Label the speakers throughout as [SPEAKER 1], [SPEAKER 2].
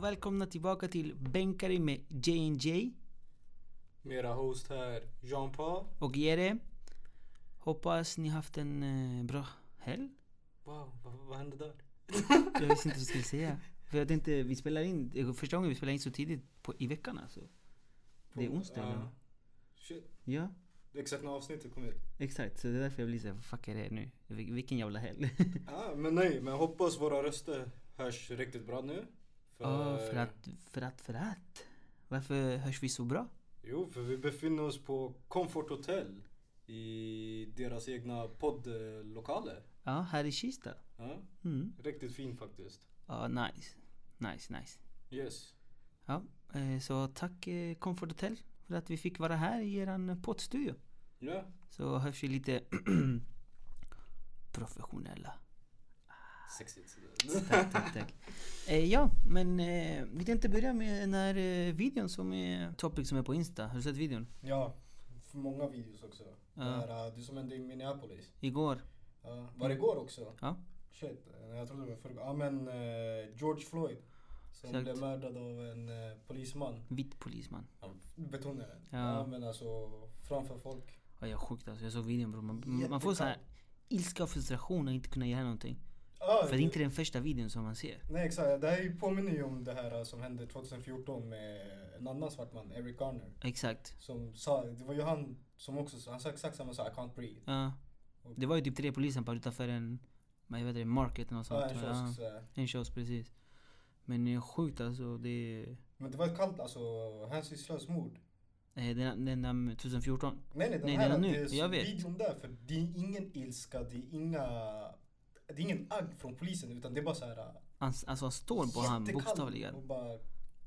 [SPEAKER 1] välkomna tillbaka till Bänka dig med JNJ
[SPEAKER 2] Mera host här, Jean-Paul.
[SPEAKER 1] och Jere. Hoppas ni haft en eh, bra helg.
[SPEAKER 2] Wow, vad, vad hände där?
[SPEAKER 1] Jag visste inte vad jag skulle säga. För jag tänkte, vi spelar in, eh, första gången vi spelar in så tidigt på, i veckan alltså. Det är onsdag
[SPEAKER 2] Ja.
[SPEAKER 1] nu.
[SPEAKER 2] Shit,
[SPEAKER 1] Ja,
[SPEAKER 2] det är exakt när avsnittet kom ut.
[SPEAKER 1] exakt. Så det är därför jag blir såhär, fuck är det nu? Vil- Vilken jävla helg.
[SPEAKER 2] Ja, men nej, men hoppas våra röster hörs riktigt bra nu. För,
[SPEAKER 1] Ja, för att, för att, för att. Varför hörs vi så bra?
[SPEAKER 2] Jo, för vi befinner oss på Comfort Hotel i deras egna poddlokaler.
[SPEAKER 1] Ja, här i Kista.
[SPEAKER 2] Ja,
[SPEAKER 1] Mm.
[SPEAKER 2] riktigt fin faktiskt.
[SPEAKER 1] Ja, nice. Nice, nice.
[SPEAKER 2] Yes.
[SPEAKER 1] Ja, eh, så tack eh, Comfort Hotel för att vi fick vara här i eran poddstudio.
[SPEAKER 2] Ja,
[SPEAKER 1] Så hörs vi lite professionella.
[SPEAKER 2] sexigt.
[SPEAKER 1] Tack, tack, tack. Eh, ja, men eh, vi tänkte börja med den här eh, videon som är topic som är på Insta. Har du sett videon?
[SPEAKER 2] Ja, för många videos också.
[SPEAKER 1] Ja.
[SPEAKER 2] Där, eh, det som hände i Minneapolis.
[SPEAKER 1] Igår.
[SPEAKER 2] Ja, var det igår också?
[SPEAKER 1] Ja.
[SPEAKER 2] Shit, eh, jag trodde det var förra Ja men eh, George Floyd. Som
[SPEAKER 1] Exakt.
[SPEAKER 2] blev mördad av en eh, polisman.
[SPEAKER 1] Vit polisman.
[SPEAKER 2] Han betonar det.
[SPEAKER 1] Ja.
[SPEAKER 2] Ja. men alltså framför folk.
[SPEAKER 1] Ja, jag är sjukt alltså. Jag såg videon bror. Man, man får så här ilska och frustration att inte kunna göra någonting.
[SPEAKER 2] Ja,
[SPEAKER 1] För det är inte den första videon som man ser.
[SPEAKER 2] Nej exakt, det här ju- påminner ju om det här eh, som hände 2014 med en annan svart man, Eric Garner.
[SPEAKER 1] Exakt.
[SPEAKER 2] Som sa, det var ju han som också sa, han sa exakt samma sak, I can't breathe.
[SPEAKER 1] Ja. Det var ju typ tre polisen bara utanför en, vad heter det, market eller något sånt.
[SPEAKER 2] Ja,
[SPEAKER 1] tror
[SPEAKER 2] eh, en
[SPEAKER 1] jag.
[SPEAKER 2] kiosk, så här.
[SPEAKER 1] En kiosk precis. Men eh, sjukt alltså. Det är,
[SPEAKER 2] Men det var ett kallt, alltså hans sysslans mord.
[SPEAKER 1] eh, den, den där 2014.
[SPEAKER 2] Nej nej, den
[SPEAKER 1] Nej,
[SPEAKER 2] här
[SPEAKER 1] den är nu.
[SPEAKER 2] det är
[SPEAKER 1] Jag vet.
[SPEAKER 2] videon där för det är ingen ilska, det är inga det är ingen agg från polisen utan det är bara så här äh,
[SPEAKER 1] Han, alltså han står på han
[SPEAKER 2] jättekall
[SPEAKER 1] bokstavligen.
[SPEAKER 2] och bara
[SPEAKER 1] Och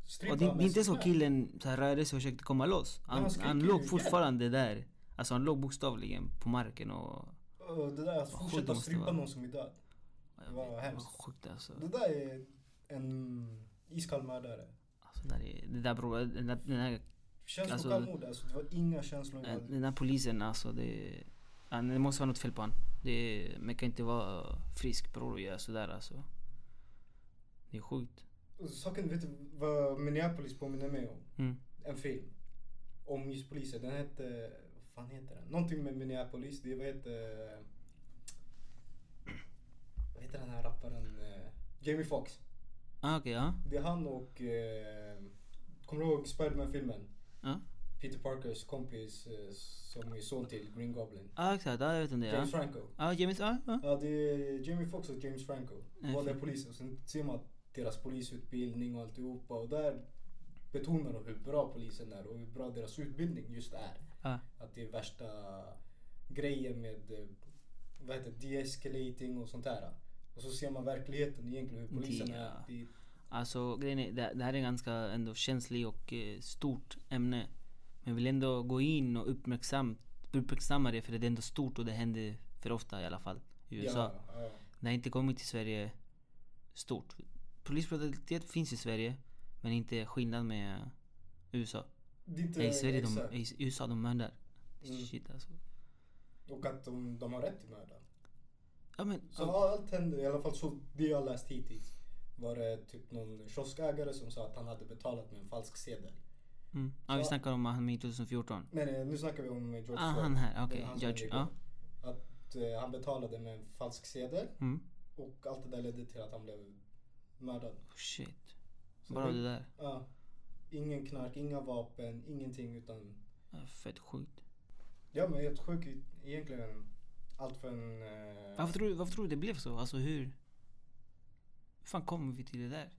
[SPEAKER 2] stryper
[SPEAKER 1] det, det är
[SPEAKER 2] han med
[SPEAKER 1] inte så
[SPEAKER 2] sin knä.
[SPEAKER 1] killen så här, rörde sig och försökte komma loss. Han,
[SPEAKER 2] han
[SPEAKER 1] han,
[SPEAKER 2] skriker ju
[SPEAKER 1] låg
[SPEAKER 2] igen.
[SPEAKER 1] fortfarande där. Alltså han låg bokstavligen på marken och...
[SPEAKER 2] Och det där att
[SPEAKER 1] Vad sjukt det
[SPEAKER 2] fortsätta
[SPEAKER 1] måste
[SPEAKER 2] strypa
[SPEAKER 1] vara.
[SPEAKER 2] någon som är död.
[SPEAKER 1] jag
[SPEAKER 2] Det
[SPEAKER 1] vet,
[SPEAKER 2] var
[SPEAKER 1] det
[SPEAKER 2] hemskt.
[SPEAKER 1] var sjukt alltså.
[SPEAKER 2] Det där är en iskall mördare.
[SPEAKER 1] alltså där är, det där bror, den, där- den, här-
[SPEAKER 2] Känslokallmod alltså, det var inga känslor
[SPEAKER 1] eh,
[SPEAKER 2] involverade.
[SPEAKER 1] den där polisen alltså det... Han, det måste vara något fel på han. Det, man kan inte vara frisk bror och göra sådär alltså. Det är sjukt.
[SPEAKER 2] Och Saken, vet du vad Minneapolis påminner mig om?
[SPEAKER 1] Mm.
[SPEAKER 2] En film. Om just polisen, den hette, vad fan heter den? Någonting med Minneapolis, det var heter... Vad heter den här rapparen? Eh, Jamie Foxx.
[SPEAKER 1] Ah, Okej, ja.
[SPEAKER 2] Det är han och, eh, kommer du ihåg Spiderman-filmen?
[SPEAKER 1] Ja.
[SPEAKER 2] Peter Parkers kompis eh, som är son till Green Goblin.
[SPEAKER 1] Ja Ah, exakt, ja, jag vet om det ja.
[SPEAKER 2] James Franco.
[SPEAKER 1] Ja, James, ja, ja.
[SPEAKER 2] Ja, det är Jamie Foxx och James Franco.
[SPEAKER 1] Mm.
[SPEAKER 2] Båda är poliser. Och sen ser man deras polisutbildning och alltihopa. Och där betonar de hur bra polisen är och hur bra deras utbildning just är.
[SPEAKER 1] Ja.
[SPEAKER 2] Att det är värsta grejen med eh, vad heter det, de-escalating och sånt där. Och så ser man verkligheten egentligen hur polisen
[SPEAKER 1] Ja.
[SPEAKER 2] är. Det,
[SPEAKER 1] Alltså grejen är, det, det här är ganska ändå känsligt och eh, stort ämne. Men vi vill ändå gå in och uppmärksam, uppmärksamma det för det är ändå stort och det händer för ofta i alla fall i USA.
[SPEAKER 2] ja, ja.
[SPEAKER 1] Det har inte kommit till Sverige stort. Polisbrutalitet finns i Sverige men inte skillnad med USA.
[SPEAKER 2] Det är inte
[SPEAKER 1] Nej, I Sverige,
[SPEAKER 2] exakt.
[SPEAKER 1] de, i USA de mördar.
[SPEAKER 2] Mm.
[SPEAKER 1] Shit alltså.
[SPEAKER 2] Och att de, de har rätt till mörda.
[SPEAKER 1] Ja men,
[SPEAKER 2] Så ja, allt hände, i alla fall så det jag läst hittills. Var det typ någon kioskägare som sa att han hade betalat med en falsk sedel.
[SPEAKER 1] mm. ja, vi
[SPEAKER 2] så-
[SPEAKER 1] snackar om han i 2014.
[SPEAKER 2] Nej, nej nu snackar vi om George
[SPEAKER 1] Ah,
[SPEAKER 2] Floyd.
[SPEAKER 1] han här,
[SPEAKER 2] Det
[SPEAKER 1] okej.
[SPEAKER 2] är han som
[SPEAKER 1] George,
[SPEAKER 2] gjorde
[SPEAKER 1] ja.
[SPEAKER 2] det. Att eh, han betalade med en falsk sedel
[SPEAKER 1] Mm.
[SPEAKER 2] och allt det där ledde till att han blev mördad.
[SPEAKER 1] Oh, shit.
[SPEAKER 2] Så
[SPEAKER 1] Bara
[SPEAKER 2] det-
[SPEAKER 1] det där.
[SPEAKER 2] Ja. Ingen knark, inga vapen, ingenting utan...
[SPEAKER 1] Ja, Fett sjukt.
[SPEAKER 2] Ja men helt sjuk i- egentligen. Allt för en... Eh,
[SPEAKER 1] Varför tror, du, varför tror du det blev så? Alltså hur? Hur fan kommer vi till det där?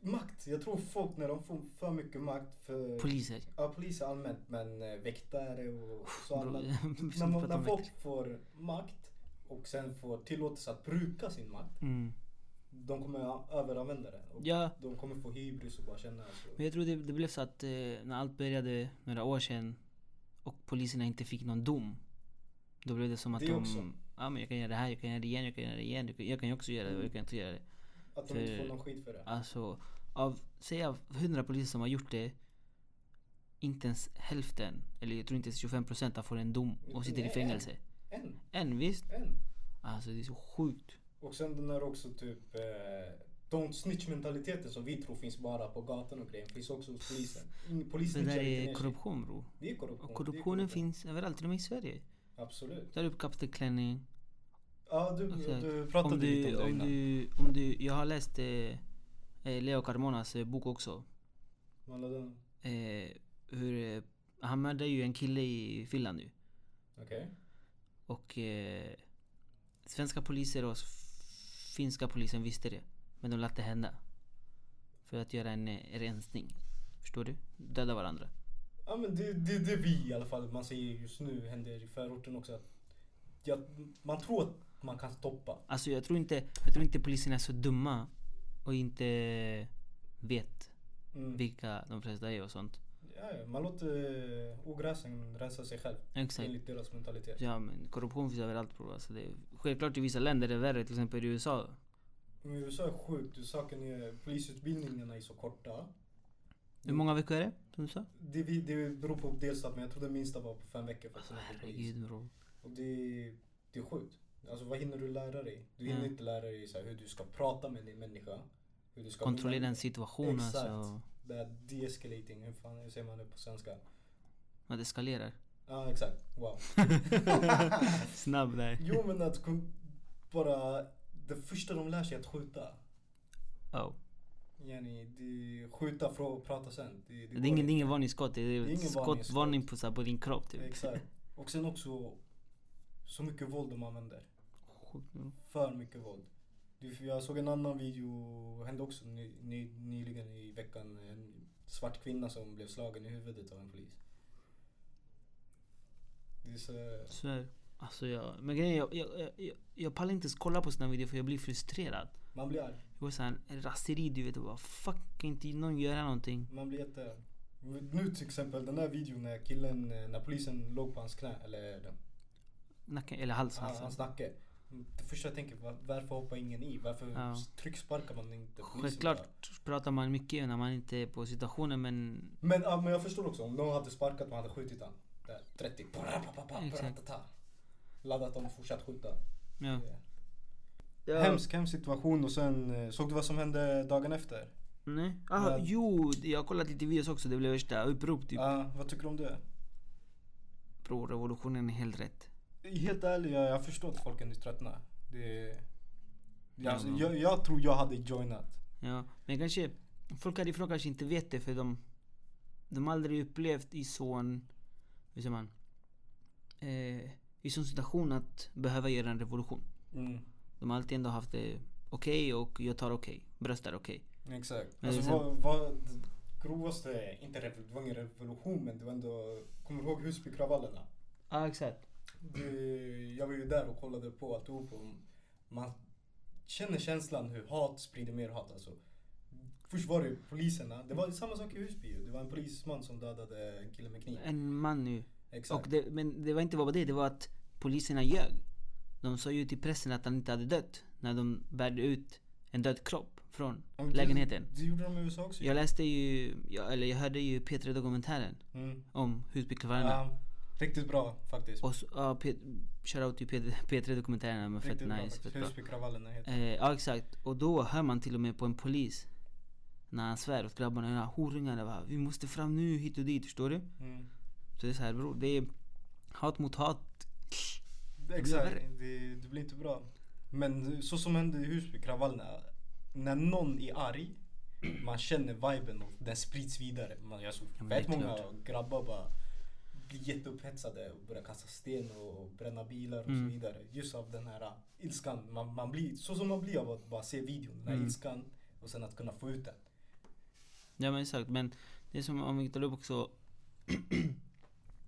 [SPEAKER 2] Makt! Jag tror folk när de får för mycket makt för...
[SPEAKER 1] Poliser.
[SPEAKER 2] ja polis allmänt men eh, väktare och så
[SPEAKER 1] Bro,
[SPEAKER 2] alla
[SPEAKER 1] vi ska
[SPEAKER 2] när,
[SPEAKER 1] inte
[SPEAKER 2] man,
[SPEAKER 1] prata
[SPEAKER 2] när
[SPEAKER 1] om
[SPEAKER 2] folk
[SPEAKER 1] det.
[SPEAKER 2] får makt och sen får tillåtelse att bruka sin makt,
[SPEAKER 1] Mm.
[SPEAKER 2] de kommer a- överanvända det. Och
[SPEAKER 1] Ja,
[SPEAKER 2] De kommer få hybris och bara känna alltså,
[SPEAKER 1] men jag tror det, det blev så att eh, när allt började några år sedan och poliserna inte fick någon dom. Då blev det som att
[SPEAKER 2] Det
[SPEAKER 1] de...
[SPEAKER 2] också.
[SPEAKER 1] Ja men jag kan göra det här, jag kan göra det igen, jag kan göra det igen. Jag kan, jag kan ju också göra det och jag kan inte göra det.
[SPEAKER 2] att de inte
[SPEAKER 1] för-
[SPEAKER 2] får någon skit för det.
[SPEAKER 1] Alltså, av, säg av 100 poliser som har gjort det. Inte ens hälften, eller jag tror inte ens 25% får en dom och sitter i
[SPEAKER 2] Nej,
[SPEAKER 1] fängelse.
[SPEAKER 2] En,
[SPEAKER 1] En visst.
[SPEAKER 2] en.
[SPEAKER 1] Alltså det är så sjukt.
[SPEAKER 2] Och sen den här också typ eh, don't snitch mentaliteten som vi tror finns bara på gatan och grejen finns också hos polisen. Ingen-
[SPEAKER 1] Det
[SPEAKER 2] Polisen
[SPEAKER 1] där
[SPEAKER 2] snitchar inte ner
[SPEAKER 1] är
[SPEAKER 2] sig.
[SPEAKER 1] korruption bror.
[SPEAKER 2] Det är korruption.
[SPEAKER 1] Och
[SPEAKER 2] det är
[SPEAKER 1] korruptionen
[SPEAKER 2] korruption.
[SPEAKER 1] finns överallt, till och med i Sverige.
[SPEAKER 2] Absolut.
[SPEAKER 1] Tar upp kaptenklänning.
[SPEAKER 2] Ja, du,
[SPEAKER 1] Exakt.
[SPEAKER 2] du pratade
[SPEAKER 1] Alltså, om du,
[SPEAKER 2] lite om det
[SPEAKER 1] om
[SPEAKER 2] innan.
[SPEAKER 1] du, om du, Jag har läst eh, eh, Leo Carmonas eh, bok också.
[SPEAKER 2] Alla den-
[SPEAKER 1] Eh, hur, eh, han mördade ju en kille i Finland nu.
[SPEAKER 2] Okej.
[SPEAKER 1] Och eh, svenska poliser och f- finska polisen visste det. Men de lät det hända. För att göra en eh, rensning. Förstår du? Döda varandra.
[SPEAKER 2] Ja men det, det, det vi i alla fall, man ser just nu händer i förorten också. Att ja, man tror att man kan stoppa.
[SPEAKER 1] Alltså jag tror inte, jag tror inte polisen är så dumma och inte vet
[SPEAKER 2] Mm.
[SPEAKER 1] vilka de flesta är och sånt.
[SPEAKER 2] Ja, ja, man låter ogräsen rensa sig själv.
[SPEAKER 1] Exakt.
[SPEAKER 2] Enligt deras mentalitet.
[SPEAKER 1] Ja men korruption finns överallt bror. Alltså det är, självklart i vissa länder är det värre, till exempel i USA.
[SPEAKER 2] Men USA är sjukt. Saken är polisutbildningarna är så korta.
[SPEAKER 1] Hur många veckor är det? Som du sa?
[SPEAKER 2] Det, vi- det beror på delstat men jag tror den minsta var på fem veckor för att
[SPEAKER 1] Alltså
[SPEAKER 2] sen bli polis.
[SPEAKER 1] herregud bror.
[SPEAKER 2] Och det, det är sjukt. Alltså vad hinner du lära dig? Du hinner
[SPEAKER 1] Ja.
[SPEAKER 2] inte lära dig så här, hur du ska prata med din människa. Hur du ska
[SPEAKER 1] Kontrollera en
[SPEAKER 2] bemöta-
[SPEAKER 1] situation
[SPEAKER 2] Exakt.
[SPEAKER 1] alltså.
[SPEAKER 2] Det här de-escalating, hur fan hur säger man det på svenska?
[SPEAKER 1] Man eskalerar.
[SPEAKER 2] Ja exakt, wow.
[SPEAKER 1] Snabb där.
[SPEAKER 2] Jo men att kon- bara, det första de lär sig är att skjuta.
[SPEAKER 1] Oh.
[SPEAKER 2] Yani, det, skjuta, fråga, prata sen. Det, det
[SPEAKER 1] Det är
[SPEAKER 2] går
[SPEAKER 1] ingen,
[SPEAKER 2] inte.
[SPEAKER 1] det är ingen varningsskott. Det är,
[SPEAKER 2] Det är ingen
[SPEAKER 1] skott,
[SPEAKER 2] varningsskott.
[SPEAKER 1] varning på, så här, på din kropp typ.
[SPEAKER 2] Exakt. Och sen också, så mycket våld de använder.
[SPEAKER 1] Sjukt, bror.
[SPEAKER 2] För mycket våld. Du, för Jag såg en annan video, hände också ny, ny, nyligen i veckan. En svart kvinna som blev slagen i huvudet av en polis. Det är så...
[SPEAKER 1] Svär. Alltså jag, men grejen är, jag, jag, jag, jag, jag pallar inte ens kolla på såna videor för jag blir frustrerad.
[SPEAKER 2] Man blir arg.
[SPEAKER 1] Jag går såhär raseri du vet och bara fuck kan inte någon göra någonting.
[SPEAKER 2] Man blir jättearg. Nu till exempel den där videon när killen, eh, när polisen låg på hans knä, eller den,
[SPEAKER 1] Nacken, eller halsen
[SPEAKER 2] han, hans
[SPEAKER 1] alltså.
[SPEAKER 2] nacke. Det första jag tänker, var, varför hoppar ingen i? Varför
[SPEAKER 1] Ja.
[SPEAKER 2] s- trycksparkar man inte polisen? bara?
[SPEAKER 1] Självklart pratar man mycket när man inte är på situationen men
[SPEAKER 2] Men, ja, men jag förstår också, om någon hade sparkat man hade skjutit han. Där, 30. Bra, bra, bra, bra, bra,
[SPEAKER 1] Exakt.
[SPEAKER 2] ta, ta. Laddat dem och fortsatt skjuta.
[SPEAKER 1] ja.
[SPEAKER 2] Ja. Hemsk, hemsk situation och sen eh, såg du vad som hände dagen efter?
[SPEAKER 1] Nej. Ah,
[SPEAKER 2] Men-
[SPEAKER 1] Jo, jag har kollat lite videos också. Det blev värsta upprop typ.
[SPEAKER 2] Ja, vad tycker du om det?
[SPEAKER 1] Bror revolutionen är helt rätt.
[SPEAKER 2] Helt ärligt, jag, jag förstår att folk ändå tröttnar. Det, jag, alltså,
[SPEAKER 1] Ja.
[SPEAKER 2] jag, jag tror jag hade joinat.
[SPEAKER 1] Ja, men kanske folk härifrån kanske inte vet det för de de har aldrig upplevt i sån, hur säger man, eh, i sån situation att behöva göra en revolution.
[SPEAKER 2] Mm,
[SPEAKER 1] De har alltid ändå haft det okej och jag tar okej, bröstar okej.
[SPEAKER 2] exakt.
[SPEAKER 1] Men
[SPEAKER 2] Alltså,
[SPEAKER 1] sen-
[SPEAKER 2] vad, vad det grovaste, inte revol- det var ingen revolution men det var ändå, kommer du ihåg Husbykravallerna?
[SPEAKER 1] Ja exakt.
[SPEAKER 2] Det- Jag var ju där och kollade på alltihop. Man känner känslan hur hat sprider mer hat. Alltså, först var det ju poliserna. Det var samma sak i Husby. ju. Det var en polisman som dödade en kille med kniv.
[SPEAKER 1] En man nu.
[SPEAKER 2] Exakt.
[SPEAKER 1] Och det, men det var inte bara det, det var att poliserna ljög. De sa ju till pressen att han inte hade dött när de bärde ut en död kropp från
[SPEAKER 2] Ja, men det-
[SPEAKER 1] lägenheten.
[SPEAKER 2] Det gjorde de i USA också. ju.
[SPEAKER 1] Jag läste ju, jag, eller jag hörde ju P3 Dokumentären
[SPEAKER 2] Mm.
[SPEAKER 1] om Husbykravallerna.
[SPEAKER 2] Ja, riktigt bra faktiskt.
[SPEAKER 1] Och så, ja, P- shoutout till P- P3 dokumentären, men fett
[SPEAKER 2] Riktigt bra
[SPEAKER 1] nice.
[SPEAKER 2] faktiskt.
[SPEAKER 1] Fett bra.
[SPEAKER 2] Husbykravallerna heter
[SPEAKER 1] Eh, ja exakt, och då hör man till och med på en polis när han svär åt grabbarna, ja, horungarna va, vi måste fram nu hit och dit, förstår du?
[SPEAKER 2] mm.
[SPEAKER 1] Så det är så här bror, det är hat mot hat.
[SPEAKER 2] Exakt,
[SPEAKER 1] värre.
[SPEAKER 2] det, det blir inte bra. Men så som hände i Husbykravallerna. När någon är arg, man känner viben och den sprids vidare. Man, jag såg
[SPEAKER 1] Ja, men det är
[SPEAKER 2] fett många
[SPEAKER 1] klart.
[SPEAKER 2] grabbar bara blir jätteupphetsade och börjar kasta sten och bränna bilar och
[SPEAKER 1] Mm.
[SPEAKER 2] så vidare. Just av den här ilskan. Man, man blir, så som man blir av att bara se videon, den här
[SPEAKER 1] Mm.
[SPEAKER 2] ilskan och sen att kunna få ut den.
[SPEAKER 1] Ja men exakt, men det är som om vi tar upp också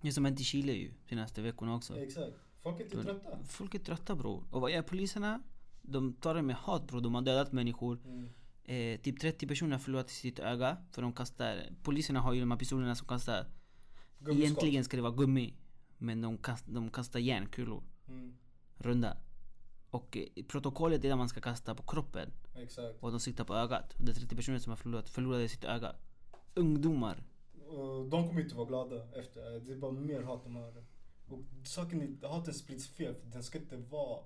[SPEAKER 1] Det som hänt i Chile ju, senaste veckorna också.
[SPEAKER 2] Exakt. Folk är
[SPEAKER 1] Mm.
[SPEAKER 2] inte trötta.
[SPEAKER 1] Folk är trötta bror. Och vad gör poliserna? De tar det med hat bror, de har dödat människor.
[SPEAKER 2] Mm.
[SPEAKER 1] Eh, typ 30 personer har förlorat sitt öga för de kastar, poliserna har ju de här pistolerna som kastar,
[SPEAKER 2] Gummiskott.
[SPEAKER 1] egentligen ska det vara gummi. Men de, kast, de kastar järnkulor,
[SPEAKER 2] Mm.
[SPEAKER 1] runda. Och eh, protokollet är där man ska kasta på kroppen
[SPEAKER 2] Exakt.
[SPEAKER 1] och de siktar på ögat. Och det är 30 personer som har förlorat, förlorade sitt öga. Ungdomar.
[SPEAKER 2] Och Eh, de kommer inte vara glada efter. eh, Det är bara mer hat de har. Och saken är, haten sprids fel för den ska inte vara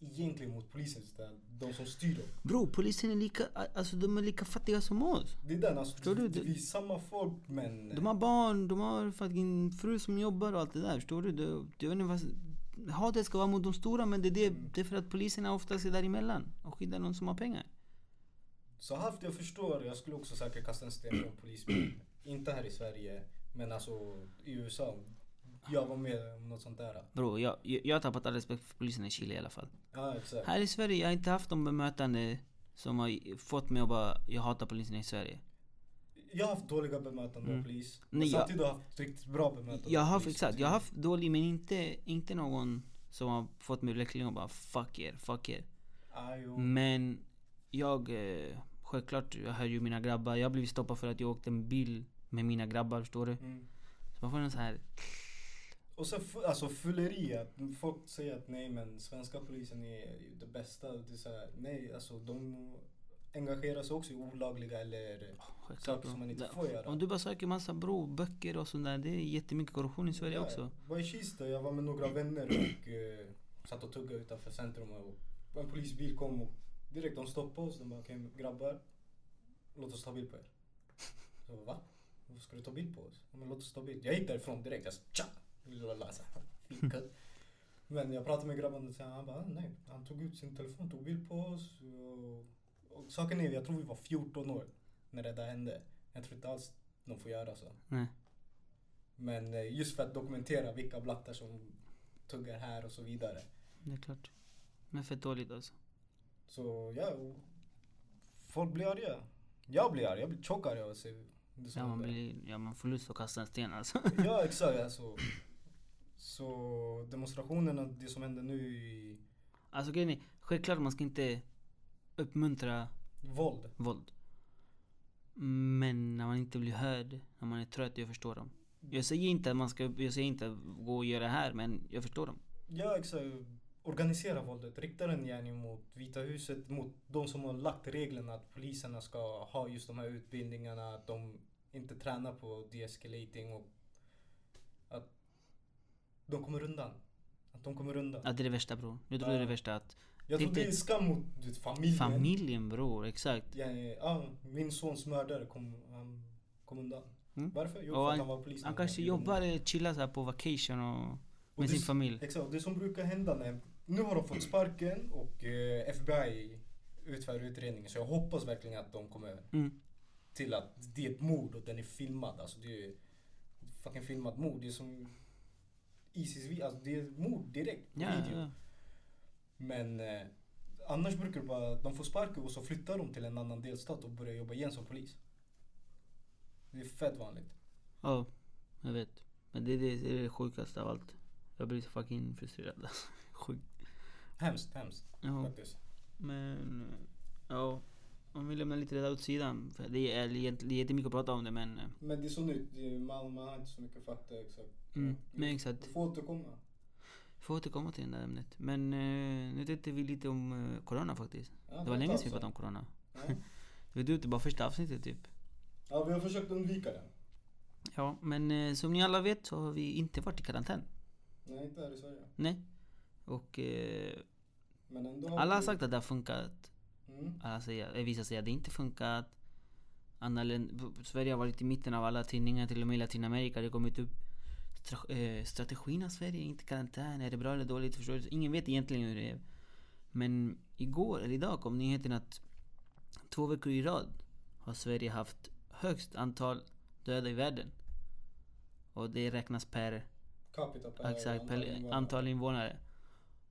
[SPEAKER 2] egentligen mot polisen utan de som styr dem.
[SPEAKER 1] Bro, polisen är lika, alltså de är lika fattiga som oss.
[SPEAKER 2] Det är den alltså.
[SPEAKER 1] Förstår du?
[SPEAKER 2] det- Vi är samma folk men...
[SPEAKER 1] De har barn, de har fucking fru som jobbar och allt det där. Förstår du? Du, du vet inte vad... Hatet ska vara mot de stora men det är, det, det är för att poliserna oftast är däremellan och skyddar någon som har pengar.
[SPEAKER 2] Så halvt jag förstår, jag skulle också säkert kasta en sten på en polisbil. Inte här i Sverige, men alltså i USA. Jag var med om något sånt där.
[SPEAKER 1] Bro, jag, jag, jag har tappat all respekt för polisen i Chile i alla fall.
[SPEAKER 2] Ja exakt.
[SPEAKER 1] Här i Sverige, jag har inte haft de bemötande som har fått mig att bara, jag hatar polisen i Sverige.
[SPEAKER 2] Jag har haft dåliga bemötanden av polis. Men
[SPEAKER 1] Mm. Nej, jag-
[SPEAKER 2] samtidigt har jag haft riktigt bra bemötande
[SPEAKER 1] Jag
[SPEAKER 2] av
[SPEAKER 1] har haft,
[SPEAKER 2] polis.
[SPEAKER 1] exakt, jag har haft dålig men inte, inte någon som har fått mig verkligen att bara fuck er, fuck er.
[SPEAKER 2] Ah, jo.
[SPEAKER 1] Mm. Men jag, eh, självklart, jag hör ju mina grabbar. Jag blev stoppad för att jag åkte en bil med mina grabbar, förstår du?
[SPEAKER 2] Mm.
[SPEAKER 1] Så man får en sån här,
[SPEAKER 2] Och så fu- alltså fylleri, att folk säger att nej men svenska polisen är ju det bästa. Det är så här, nej alltså de engagerar sig också i olagliga eller
[SPEAKER 1] självklart.
[SPEAKER 2] saker som man inte
[SPEAKER 1] Där-
[SPEAKER 2] får göra.
[SPEAKER 1] Om du bara söker massa bro, böcker och sånt där, det är jättemycket korruption i Sverige
[SPEAKER 2] Ja,
[SPEAKER 1] också.
[SPEAKER 2] Jag var i Kista, jag var med några vänner och eh, satt och tuggade utanför centrum och en polisbil kom och direkt de stoppade oss. De bara okej grabbar, låt oss ta bild på er. Så jag bara, va? Varför ska du ta bild på oss? "Ja, Men låt oss ta bild. Jag gick därifrån direkt. Jag sa tja! Lala, så här, fika. Men jag pratade med grabben och sen han bara "Ah, nej. Han tog ut sin telefon, tog bild på oss. Och, och saken är, jag tror vi var 14 år när det där hände. Jag tror inte alls de får göra så.
[SPEAKER 1] Nej.
[SPEAKER 2] Men eh, just för att dokumentera vilka blattar som tuggar här och så vidare.
[SPEAKER 1] Det är klart. Men fett dåligt alltså.
[SPEAKER 2] Så ja, och folk blir arga. Jag blir arg, jag blir tjock arg av att se det som
[SPEAKER 1] Ja man,
[SPEAKER 2] händer.
[SPEAKER 1] blir, ja, man får lust att kasta en sten alltså.
[SPEAKER 2] Ja exakt alltså. Så demonstrationerna, det som händer nu i
[SPEAKER 1] alltså grejen är, självklart man ska inte uppmuntra
[SPEAKER 2] våld.
[SPEAKER 1] våld. Men när man inte blir hörd, när man är trött, jag förstår dem. Jag säger inte att man ska, jag säger inte att gå och göra det här men jag förstår dem.
[SPEAKER 2] Ja exakt. Organisera våldet, rikta den gärning mot Vita huset, mot de som har lagt reglerna att poliserna ska ha just de här utbildningarna, att de inte tränar på de-escalating och att de kommer undan. Att de kommer undan.
[SPEAKER 1] Att det är det värsta bror. Jag tror det är det värsta att
[SPEAKER 2] Jag
[SPEAKER 1] det är
[SPEAKER 2] tror det är
[SPEAKER 1] inte-
[SPEAKER 2] skam mot du vet, familjen.
[SPEAKER 1] familjen bror, exakt.
[SPEAKER 2] Ja, ja, ja, min sons mördare kom, han kom undan.
[SPEAKER 1] Mm.
[SPEAKER 2] Varför? Jo,
[SPEAKER 1] Och
[SPEAKER 2] för att
[SPEAKER 1] han-
[SPEAKER 2] han var polis.
[SPEAKER 1] Han kanske jobbar eller chillar så här på vacation och
[SPEAKER 2] Och
[SPEAKER 1] med
[SPEAKER 2] det-
[SPEAKER 1] sin familj.
[SPEAKER 2] Exakt, det som brukar hända när... Nu har de fått sparken och eh, FBI utför utredningen så jag hoppas verkligen att de kommer
[SPEAKER 1] Mm.
[SPEAKER 2] till att det är ett mord och den är filmad. Alltså det är fucking filmat mord. Det är som Isis vi- alltså det är mord direkt på
[SPEAKER 1] Ja, ja,
[SPEAKER 2] video.
[SPEAKER 1] ja.
[SPEAKER 2] Men eh, annars brukar det bara, de får sparken och så flyttar de till en annan delstat och börjar jobba igen som polis. Det är fett vanligt.
[SPEAKER 1] ja, jag vet. Men det är det, det, är det sjukaste av allt. Jag blir så fucking frustrerad alltså. Sjukt.
[SPEAKER 2] Hemskt, hemskt
[SPEAKER 1] Ja.
[SPEAKER 2] faktiskt.
[SPEAKER 1] Men eh, ja, om vi lämnar lite det där åt sidan. För det är egentligen det är jättemycket att prata om det men. eh,
[SPEAKER 2] Men det är så nytt, Det är Malmö har inte så mycket fakta exakt.
[SPEAKER 1] Mm, men exakt.
[SPEAKER 2] Du får återkomma.
[SPEAKER 1] Vi får återkomma till det där ämnet. Men eh, nu tänkte vi lite om eh, corona faktiskt.
[SPEAKER 2] Ja,
[SPEAKER 1] Det var länge sedan vi
[SPEAKER 2] alltså.
[SPEAKER 1] pratade om corona.
[SPEAKER 2] Ja.
[SPEAKER 1] Det var du inte bara första avsnittet typ.
[SPEAKER 2] Ja, vi har försökt undvika den.
[SPEAKER 1] Ja, men eh, som ni alla vet så har vi inte varit i karantän.
[SPEAKER 2] Nej, inte här i Sverige.
[SPEAKER 1] Nej. Och eh,
[SPEAKER 2] Men ändå har
[SPEAKER 1] alla har
[SPEAKER 2] vi-
[SPEAKER 1] sagt att det har funkat.
[SPEAKER 2] Mm.
[SPEAKER 1] Alla säger, eh, vissa säger att det inte funkat. Andra länder, Sverige har varit i mitten av alla tidningar, till och med i Latinamerika. Det har kommit upp stra- eh, strategin av Sverige, inte karantän. Är det bra eller dåligt? Förstår du? Ingen vet egentligen hur det är. Men igår, eller idag, kom nyheten att två veckor i rad har Sverige haft högst antal döda i världen. Och det räknas per,
[SPEAKER 2] Capita per
[SPEAKER 1] exakt, per
[SPEAKER 2] invånare.
[SPEAKER 1] antal invånare.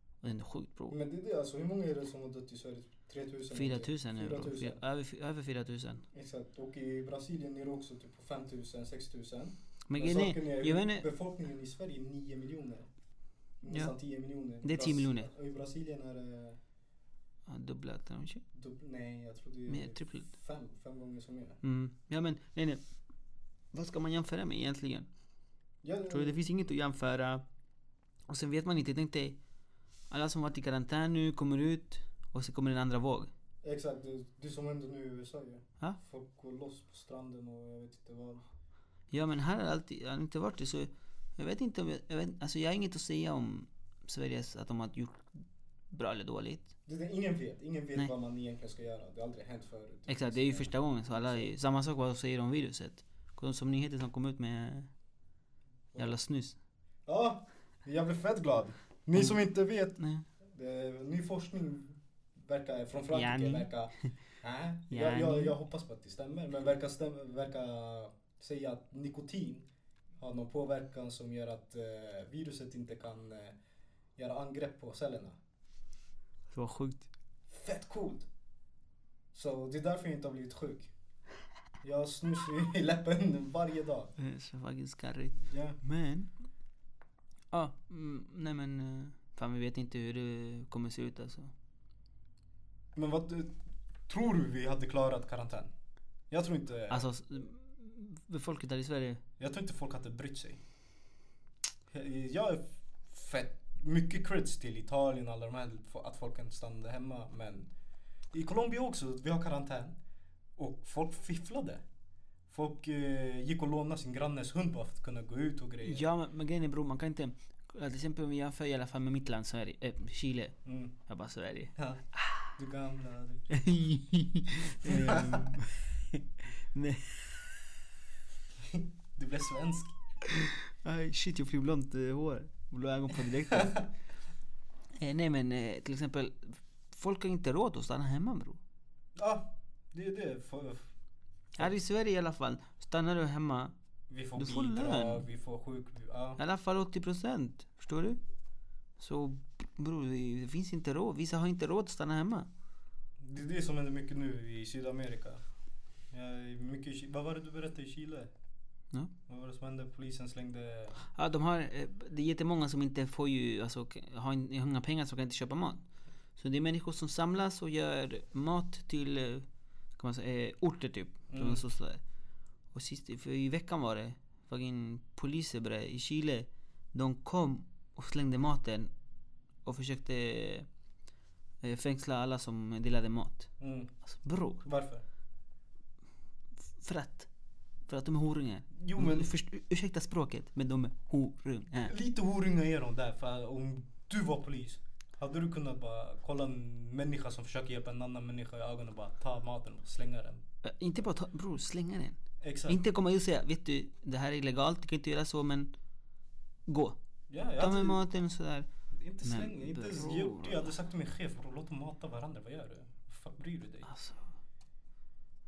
[SPEAKER 1] Och det är ändå sjukt bra.
[SPEAKER 2] Men det är det alltså, hur många är det som har dött i Sverige? Typ 3000?
[SPEAKER 1] 4000 nu.
[SPEAKER 2] 4000.
[SPEAKER 1] bro. Över, f- över 4000.
[SPEAKER 2] Exakt, och i Brasilien är det också typ på 5000, 6000.
[SPEAKER 1] Men
[SPEAKER 2] Men
[SPEAKER 1] grejen
[SPEAKER 2] saken
[SPEAKER 1] är,
[SPEAKER 2] är,
[SPEAKER 1] jag vet
[SPEAKER 2] ju,
[SPEAKER 1] inte,
[SPEAKER 2] befolkningen i Sverige är 9 miljoner. Nästan 10 miljoner.
[SPEAKER 1] Det är 10
[SPEAKER 2] Bras-
[SPEAKER 1] miljoner.
[SPEAKER 2] Och i Brasilien är det...
[SPEAKER 1] Ja, dubbla att de kör.
[SPEAKER 2] dubb- Nej, jag tror det är
[SPEAKER 1] Mer, trippelt.
[SPEAKER 2] fem, fem gånger så mer.
[SPEAKER 1] Mm. Ja men, nej nej. Vad ska man jämföra med egentligen?
[SPEAKER 2] Ja,
[SPEAKER 1] Tror du det finns inget att jämföra? Och sen vet man inte, tänk dig. Alla som varit i karantän nu kommer ut och så kommer en andra våg.
[SPEAKER 2] Exakt, det, det som händer nu i USA ju.
[SPEAKER 1] Ja.
[SPEAKER 2] Folk går loss på stranden och jag vet inte vad.
[SPEAKER 1] Ja men här har alltid, har det inte varit det så. Jag vet inte om jag, jag vet, alltså jag har inget att säga om Sveriges, att de har gjort bra eller dåligt.
[SPEAKER 2] Det, det, ingen vet. Ingen vet
[SPEAKER 1] Nej.
[SPEAKER 2] vad man egentligen ska göra. Det har aldrig hänt förut.
[SPEAKER 1] Exakt, det är ju första gången så alla är ju, Samma sak vad de säger om viruset. Kolla Som nyheter som kom ut med jävla snus.
[SPEAKER 2] Ja, jag blev fett glad.
[SPEAKER 1] Mm.
[SPEAKER 2] Ni som inte vet.
[SPEAKER 1] Nej.
[SPEAKER 2] Det, ny forskning verkar, från Frankrike
[SPEAKER 1] Yani.
[SPEAKER 2] verkar... Äh, jag, jag,
[SPEAKER 1] Yani.
[SPEAKER 2] jag hoppas på att det stämmer. Men verkar, stäm, verkar säga att nikotin har någon påverkan som gör att eh, viruset inte kan eh, göra angrepp på cellerna.
[SPEAKER 1] Det var sjukt.
[SPEAKER 2] Fett coolt! Så det är därför jag inte har blivit sjuk. Jag snusar ju i läppen varje dag.
[SPEAKER 1] Det är Eh, så fucking skarrigt.
[SPEAKER 2] Ja.
[SPEAKER 1] Men... Ja, ah, mm, nej men... eh, Fan vi vet inte hur det kommer se ut alltså.
[SPEAKER 2] Men vad du- tror du vi hade klarat karantän? Jag tror inte,
[SPEAKER 1] Alltså, s- m- folket här i Sverige.
[SPEAKER 2] jag tror inte folk hade brytt sig. Jag är fett mycket creds till Italien och alla de här att folk inte stannade hemma men i Colombia också, vi har karantän och folk fifflade. Folk eh, gick och lånade sin grannes hund bara för att kunna gå ut och grejer.
[SPEAKER 1] Ja men, men grejen är bror, man kan inte... eh, Till exempel om vi jämför i alla fall med mitt land Sverige, eh, Chile.
[SPEAKER 2] Mm.
[SPEAKER 1] Jag bara Sverige.
[SPEAKER 2] Ja.
[SPEAKER 1] Ah.
[SPEAKER 2] Du gamla du.
[SPEAKER 1] Ehm, Nej.
[SPEAKER 2] Du blev svensk.
[SPEAKER 1] Aj, shit jag fick blont eh, hår. Blå ögon på direkten. eh, nej men eh, till exempel. Folk har inte råd att stanna hemma bror.
[SPEAKER 2] Ja, det är det. F-
[SPEAKER 1] Här i Sverige i alla fall. Stannar du hemma.
[SPEAKER 2] Vi får
[SPEAKER 1] Du får
[SPEAKER 2] bidrag,
[SPEAKER 1] lön.
[SPEAKER 2] vi får sjuk... Ja.
[SPEAKER 1] I alla fall 80%. Förstår du? Så bror det det finns inte råd. Vissa har inte råd att stanna hemma.
[SPEAKER 2] Det är det som händer mycket nu i Sydamerika. Ja, mycket, i Chi- vad var det du berättade i Chile?
[SPEAKER 1] Ja.
[SPEAKER 2] Vad var det som hände? Polisen slängde...
[SPEAKER 1] Ja, de har, eh, det är jättemånga som inte får ju, alltså, k- har in- har inga pengar så kan inte köpa mat. Så det är människor som samlas och gör mat till eh, kan man säga, eh, orter typ.
[SPEAKER 2] Mm.
[SPEAKER 1] Mm. Så, så där. Och sist, för i veckan var det fucking poliser bre, i Chile. De kom och slängde maten och försökte eh, fängsla alla som delade mat.
[SPEAKER 2] Mm.
[SPEAKER 1] Alltså bror,
[SPEAKER 2] Varför?
[SPEAKER 1] för att, för att de är horungar. Mm,
[SPEAKER 2] Jo, men-
[SPEAKER 1] Först, ursäkta språket, men de är horungar.
[SPEAKER 2] Lite horunga är de där för om du var polis hade du kunnat bara kolla en människa som försöker hjälpa en annan människa i ögonen och bara ta maten och slänga den?
[SPEAKER 1] Eh, Inte bara ta, bror slänga den.
[SPEAKER 2] Exakt.
[SPEAKER 1] Inte komma ut och säga, vet du det här är illegalt, du kan inte göra så men gå.
[SPEAKER 2] ja, jag
[SPEAKER 1] Ta med
[SPEAKER 2] hade,
[SPEAKER 1] maten och sådär.
[SPEAKER 2] inte
[SPEAKER 1] Men
[SPEAKER 2] slänga, inte ens
[SPEAKER 1] bror.
[SPEAKER 2] gjort det. Jag hade sagt till min chef, "Bror, låt dem mata varandra. Vad gör du? Vad fuck bryr du dig?
[SPEAKER 1] Alltså.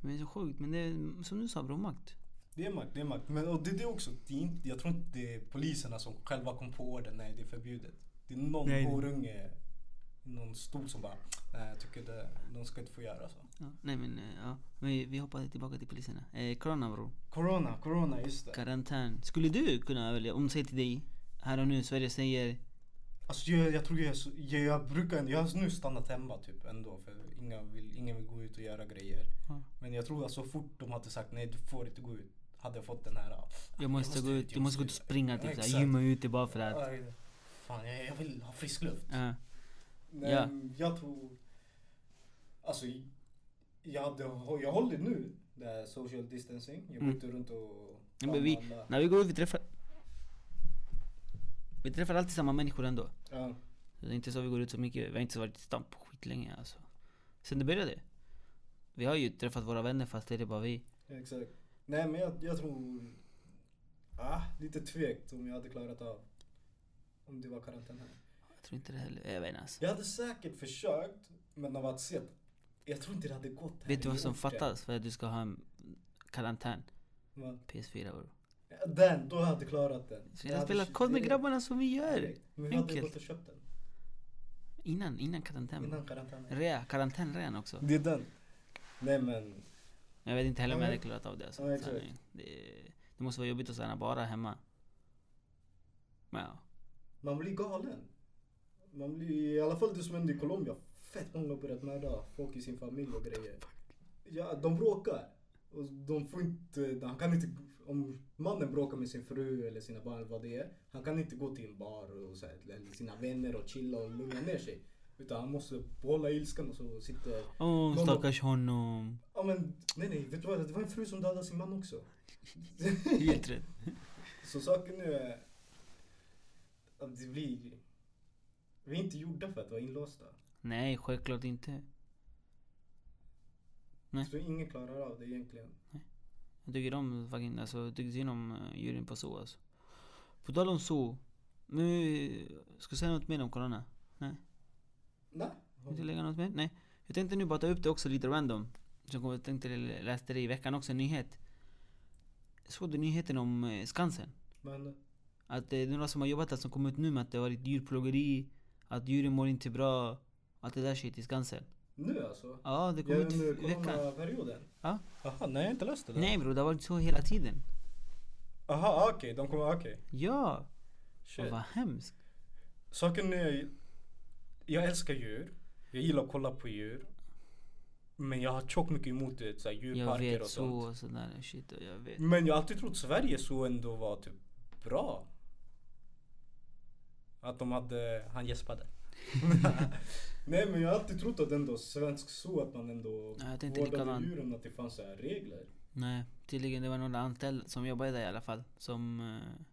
[SPEAKER 1] Men det är så sjukt, men det är som du sa bror, makt.
[SPEAKER 2] Det är makt, det är makt. Men och det är det också. Det är inte, jag tror inte det är poliserna som själva kom på orden. Nej, det är förbjudet. Det är någon
[SPEAKER 1] Nej, det-
[SPEAKER 2] horunge, någon stol som bara, nej jag tycker det, de ska inte få göra så.
[SPEAKER 1] Ja, nej men eh, ja, vi, vi hoppade tillbaka till poliserna. Eh, corona bror,
[SPEAKER 2] Corona, corona, just det.
[SPEAKER 1] karantän. Skulle du kunna välja, om de säger till dig här och nu, Sverige säger
[SPEAKER 2] Alltså jag, jag tror jag, är så- jag, jag brukar, jag har nu stannat hemma typ ändå för inga vill, ingen vill gå ut och göra grejer.
[SPEAKER 1] Ja.
[SPEAKER 2] Men jag tror att så fort de hade sagt nej du får inte gå ut, hade jag fått den här. "Ah,
[SPEAKER 1] jag måste, gå ut, jag måste gå ut och springa
[SPEAKER 2] Ja,
[SPEAKER 1] typ såhär,
[SPEAKER 2] exakt.
[SPEAKER 1] gymma ute bara för att.
[SPEAKER 2] Aj, Fan jag, jag vill ha frisk luft.
[SPEAKER 1] Ja.
[SPEAKER 2] Nej,
[SPEAKER 1] Ja.
[SPEAKER 2] jag tror... Alltså, jag, hade, jag håller nu det här social distancing. Jag går
[SPEAKER 1] Mm.
[SPEAKER 2] inte runt och...
[SPEAKER 1] Ja, men vi-
[SPEAKER 2] kramar alla.
[SPEAKER 1] När vi går ut, vi träffar... Vi träffar alltid samma människor ändå.
[SPEAKER 2] Ja.
[SPEAKER 1] Det är inte så vi går ut så mycket. Vi har inte varit i stan på skitlänge alltså. Sen det började. Vi har ju träffat våra vänner fast det är bara vi.
[SPEAKER 2] Exakt. Nej men jag, jag tror... Ah, lite tvekt om jag hade klarat av. Om det var karantän här.
[SPEAKER 1] Jag tror inte det heller. Jag vet inte alltså.
[SPEAKER 2] Jag hade säkert försökt, men av att se... Jag tror inte det hade gått här
[SPEAKER 1] Vet du
[SPEAKER 2] i
[SPEAKER 1] vad som
[SPEAKER 2] orten.
[SPEAKER 1] fattas för att du ska ha en karantän?
[SPEAKER 2] Men-
[SPEAKER 1] PS4 bror.
[SPEAKER 2] ja, Den, då hade jag klarat den.
[SPEAKER 1] Så jag har
[SPEAKER 2] hade-
[SPEAKER 1] spelat kod med
[SPEAKER 2] det-
[SPEAKER 1] grabbarna som vi gör.
[SPEAKER 2] Men vi hade
[SPEAKER 1] Enkelt.
[SPEAKER 2] gått och köpt den.
[SPEAKER 1] Innan, innan karantän. bror.
[SPEAKER 2] Innan karantänen.
[SPEAKER 1] Rea, karantänrean också.
[SPEAKER 2] Det är den. Nej men,
[SPEAKER 1] Jag vet inte heller om jag
[SPEAKER 2] Ja,
[SPEAKER 1] hade
[SPEAKER 2] men-
[SPEAKER 1] klarat av det alltså.
[SPEAKER 2] Ja, exakt.
[SPEAKER 1] Sanningen. det, det måste vara jobbigt att stanna bara hemma. Men ja.
[SPEAKER 2] man blir galen. Man blir, i alla fall det som hände i Colombia, fett många har börjat mörda folk i sin familj och grejer. Ja, de bråkar. Och de får inte, han kan inte, om mannen bråkar med sin fru eller sina barn eller vad det är. Han kan inte gå till en bar och så här, eller sina vänner och chilla och lugna ner sig. Utan han måste behålla ilskan och så sitter
[SPEAKER 1] Åh
[SPEAKER 2] Någon-
[SPEAKER 1] stackars honom.
[SPEAKER 2] Ja men nej nej, vet du vad? Det var en fru som dödade sin man också.
[SPEAKER 1] Helt rätt.
[SPEAKER 2] Så saken nu är att det blir... Vi är inte gjorda för att vara inlåsta.
[SPEAKER 1] Nej, självklart inte. Nej.
[SPEAKER 2] Så ingen klarar av det egentligen.
[SPEAKER 1] Jag tycker om fucking, alltså jag tycker synd om eh, djuren på zoo alltså. På tal om zoo. Nu, ska jag säga något mer om corona?
[SPEAKER 2] Nej.
[SPEAKER 1] Vill du lägga något mer? Nej. Jag tänkte nu bara ta upp det också lite random. Som jag tänkte jag läste det i veckan också, en nyhet. Såg du nyheten om eh, Skansen?
[SPEAKER 2] Men
[SPEAKER 1] Att det är några som har jobbat där som kom ut nu med att det har varit djurplågeri, att djuren mår inte bra, allt det där shit i Skansen.
[SPEAKER 2] nu alltså?
[SPEAKER 1] Ja, det kom
[SPEAKER 2] Ja,
[SPEAKER 1] ut
[SPEAKER 2] under
[SPEAKER 1] i veckan.
[SPEAKER 2] coronaperioden?
[SPEAKER 1] Ja.
[SPEAKER 2] Jaha, nej jag har inte läst det där.
[SPEAKER 1] Nej bror, det har varit så hela tiden.
[SPEAKER 2] Aha, ah, okej, de kommer, okej.
[SPEAKER 1] Ja!
[SPEAKER 2] Shit.
[SPEAKER 1] Vad hemskt.
[SPEAKER 2] Saken är, jag älskar djur. Jag gillar att kolla på djur. Men jag har tjockt mycket emot det, så här,
[SPEAKER 1] Jag
[SPEAKER 2] djurparker
[SPEAKER 1] vet
[SPEAKER 2] och
[SPEAKER 1] så
[SPEAKER 2] sånt. Mm.
[SPEAKER 1] och sådär shit och jag vet.
[SPEAKER 2] Men jag har alltid trott Sverige så ändå var typ bra. Att de hade, han gäspade. Nej men jag har alltid trott att ändå svensk så att man ändå
[SPEAKER 1] Ja, jag tänkte likadant.
[SPEAKER 2] djuren att det fanns så här regler.
[SPEAKER 1] Nej, tydligen det var några anställda som jobbade där i alla fall som eh,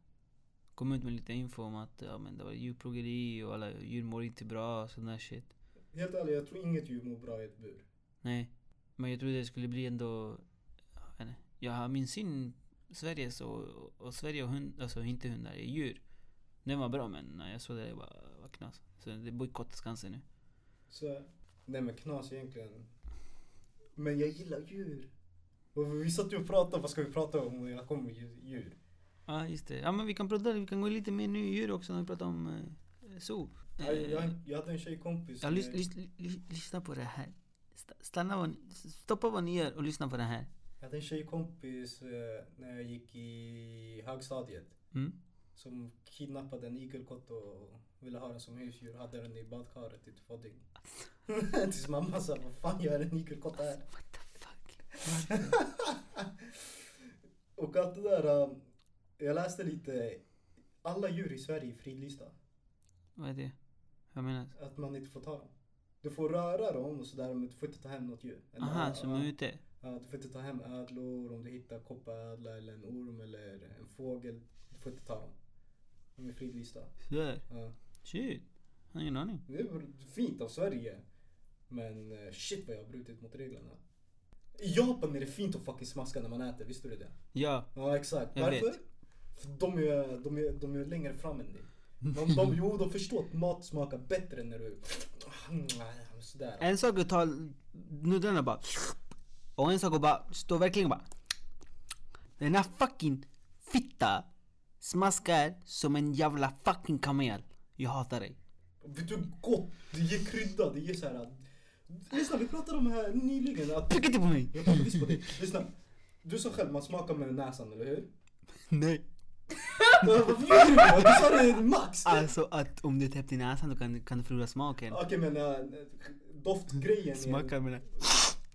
[SPEAKER 1] kom ut med lite info om att ja, men det var djurplågeri och alla djur mår inte bra och sån där shit.
[SPEAKER 2] Helt ärligt, jag tror inget djur mår bra i ett bur.
[SPEAKER 1] Nej, men jag trodde det skulle bli ändå... Jag vet inte. Jag har min syn Sveriges och, och Sverige och hund, alltså inte hundar, djur. Den var bra men när jag såg det, det bara var knas. Så det bojkottas Skansen nu.
[SPEAKER 2] Så, nej men knas egentligen. Men jag gillar djur. Och vi satt ju och pratade, vad ska vi prata om? Och jag kom med djur- djur.
[SPEAKER 1] Ja just det. Ja men vi kan prata, vi kan gå lite mer nu i djur också när vi pratar om eh, zoo. Eh,
[SPEAKER 2] Jag, jag, jag hade en tjejkompis.
[SPEAKER 1] ja,
[SPEAKER 2] med-
[SPEAKER 1] lys, lys, lys, lyssna på det här. Sta- Stanna vad, ni- stoppa vad ni gör och lyssna på det här.
[SPEAKER 2] Jag hade en tjejkompis eh, när jag gick i högstadiet.
[SPEAKER 1] Mm.
[SPEAKER 2] Som kidnappade en igelkott och ville ha den som husdjur. Hade den i badkaret i två dygn. Tills mamma sa, vad fan gör en igelkott här?
[SPEAKER 1] What the fuck?
[SPEAKER 2] Och allt det där. eh, Jag läste lite. Alla djur i Sverige är fridlysta.
[SPEAKER 1] Vad är det? Vad menas?
[SPEAKER 2] Att man inte får ta dem. Du får röra dem och sådär men du får inte ta hem något djur. En
[SPEAKER 1] Aha,
[SPEAKER 2] ö-
[SPEAKER 1] som är ute?
[SPEAKER 2] ja, du får inte ta hem ödlor om du hittar kopparädla eller en orm eller en fågel. Du får inte ta dem. De är fridlysta.
[SPEAKER 1] Sådär.
[SPEAKER 2] Ja.
[SPEAKER 1] Shit. Jag har ingen aning.
[SPEAKER 2] Det är väl fint av Sverige. Men eh, shit vad jag har brutit mot reglerna. I Japan är det fint att fucking smaska när man äter, visste du det?
[SPEAKER 1] Ja.
[SPEAKER 2] Ja exakt.
[SPEAKER 1] Jag
[SPEAKER 2] Varför?
[SPEAKER 1] vet.
[SPEAKER 2] För de är, de, är, de är längre fram än dig. De, de, jo, de förstår att mat smakar bättre när du... Sådär.
[SPEAKER 1] En sak är att ta nudlarna bara och en sak är bara stå verkligen bara Den här fucking fitta smaskar som en jävla fucking kamel. Jag hatar dig.
[SPEAKER 2] Vet du gott? Det ger krydda, det ger såhär... Lyssna, vi pratade om det här nyligen att...
[SPEAKER 1] Tryck inte på mig!
[SPEAKER 2] Jag tar bevis på det. Lyssna. Du sa själv, man smakar med näsan, eller hur?
[SPEAKER 1] Nej.
[SPEAKER 2] Varför gjorde du det? Du sa det max!
[SPEAKER 1] Alltså att om du är täppt i näsan då kan, kan du förlora smaken.
[SPEAKER 2] Okej men äh, doftgrejen är...
[SPEAKER 1] Smaka med den.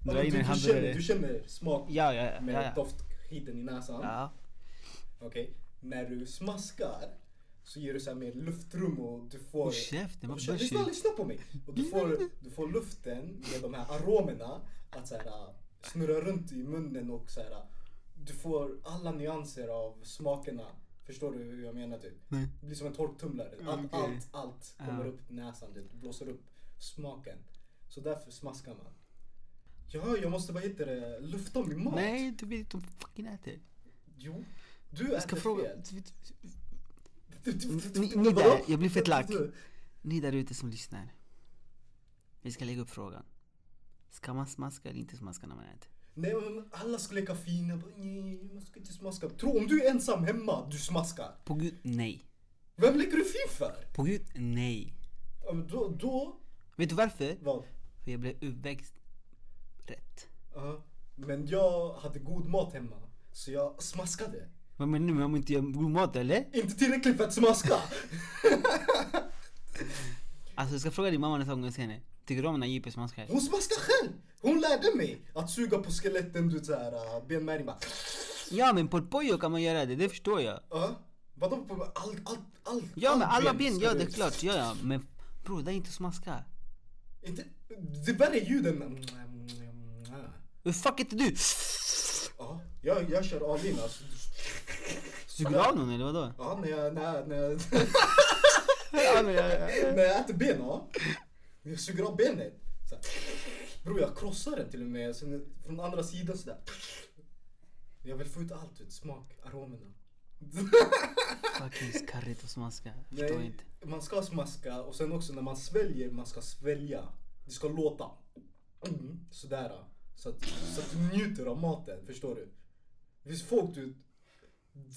[SPEAKER 2] Ja,
[SPEAKER 1] Dra
[SPEAKER 2] men
[SPEAKER 1] in
[SPEAKER 2] du,
[SPEAKER 1] en
[SPEAKER 2] du, känner,
[SPEAKER 1] hamburgare.
[SPEAKER 2] du känner smak
[SPEAKER 1] Ja, ja, ja.
[SPEAKER 2] med
[SPEAKER 1] ja, ja.
[SPEAKER 2] doftskiten i näsan.
[SPEAKER 1] ja.
[SPEAKER 2] Okej. När du smaskar så ger du så här mer luftrum och du får...
[SPEAKER 1] Och käften, vad
[SPEAKER 2] Och du känner- lyssna,
[SPEAKER 1] börsigt.
[SPEAKER 2] lyssna på mig! Och du får, du får luften med de här aromerna att så här, äh, snurra runt i munnen och så här, äh, Du får alla nyanser av smakerna. Förstår du hur jag menar typ?
[SPEAKER 1] Nej. Mm,
[SPEAKER 2] Det blir som en torktumlare. Allt,
[SPEAKER 1] Okej.
[SPEAKER 2] allt, allt kommer
[SPEAKER 1] Ja.
[SPEAKER 2] upp i näsan. Det blåser upp smaken. Så därför smaskar man. Ja, jag måste bara hitta det. Lufta min mat.
[SPEAKER 1] Nej, du vet inte om fucking äter.
[SPEAKER 2] Jo. Du
[SPEAKER 1] Jag ska
[SPEAKER 2] äter
[SPEAKER 1] fråga.
[SPEAKER 2] fel.
[SPEAKER 1] Ni- ni där, jag blir fett lack. Ni där ute som lyssnar. Vi ska lägga upp frågan. Ska man smaska eller inte smaska när man äter?
[SPEAKER 2] Nej men alla ska leka fina. Bara, Nej, man ska inte smaska. Tro, om du är ensam hemma, du smaskar.
[SPEAKER 1] På gud, nej.
[SPEAKER 2] Vem leker du fin för?
[SPEAKER 1] På gud, nej.
[SPEAKER 2] Ja, men då, då,
[SPEAKER 1] Vet du varför?
[SPEAKER 2] vad?
[SPEAKER 1] För jag blev uppväxt rätt.
[SPEAKER 2] Ja. Men jag hade god mat hemma. Så jag smaskade.
[SPEAKER 1] Vad menar du med om inte jag god mat eller?
[SPEAKER 2] Inte tillräckligt för att smaska.
[SPEAKER 1] Alltså jag ska fråga din mamma nästa gång jag ser henne. Tycker du om när Jeepy smaskar?
[SPEAKER 2] Hon smaskar själv! Hon lärde mig att suga på skeletten, du vet såhär, äh, benmärgen bara.
[SPEAKER 1] Ja men på pojo kan man göra det, det förstår jag.
[SPEAKER 2] Ja. Vadå på allt, allt, allt?
[SPEAKER 1] Ja men
[SPEAKER 2] allt
[SPEAKER 1] alla
[SPEAKER 2] ben
[SPEAKER 1] ben,
[SPEAKER 2] ska
[SPEAKER 1] ja
[SPEAKER 2] du-
[SPEAKER 1] det är klart, ja ja. Men bror det är inte att smaska.
[SPEAKER 2] Inte, det värre är ljuden.
[SPEAKER 1] Hur fuck inte du?
[SPEAKER 2] Ja, jag, jag kör all in alltså.
[SPEAKER 1] Suger du av någon eller vadå?
[SPEAKER 2] Ja, när jag, när jag, när jag...
[SPEAKER 1] Ja, men jag- jag-
[SPEAKER 2] När jag äter ben, ja. Jag suger av benet. Så här. Bror jag krossar den till och med. Sen från andra sidan sådär. Jag vill få ut allt. Vet, smak, aromerna.
[SPEAKER 1] Fucking skarrigt och smaska. Jag
[SPEAKER 2] Nej,
[SPEAKER 1] Förstår inte.
[SPEAKER 2] Man ska smaska och sen också när man sväljer, man ska svälja. Det ska låta. Mm, sådär. Så att, så att du njuter av maten, förstår du? Det finns folk du,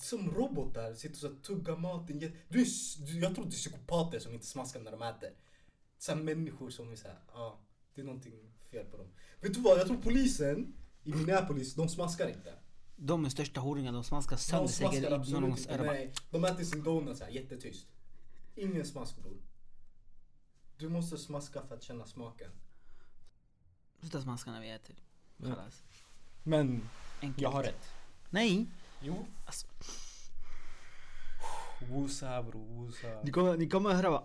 [SPEAKER 2] som robotar, sitter och så här tuggar maten. Jag- Du, är s- du, jag tror det är psykopater som inte smaskar när de äter. Så här människor som är såhär, ja, ah, det är någonting fel på dem. Vet du vad, jag tror polisen i Minneapolis, de smaskar inte.
[SPEAKER 1] De är största horungar, de smaskar sönder
[SPEAKER 2] De smaskar
[SPEAKER 1] säkert i
[SPEAKER 2] absolut
[SPEAKER 1] någons
[SPEAKER 2] inte.
[SPEAKER 1] öra.
[SPEAKER 2] Nej, de äter sin donut såhär jättetyst. Ingen smask bror. Du måste smaska för att känna smaken.
[SPEAKER 1] Sluta smaska när vi äter.
[SPEAKER 2] Ja.
[SPEAKER 1] Kallas.
[SPEAKER 2] Men
[SPEAKER 1] Enkelt.
[SPEAKER 2] jag har rätt.
[SPEAKER 1] Nej!
[SPEAKER 2] Jo.
[SPEAKER 1] Alltså.
[SPEAKER 2] Wosa bror, wosa.
[SPEAKER 1] Ni kommer, ni kommer höra va?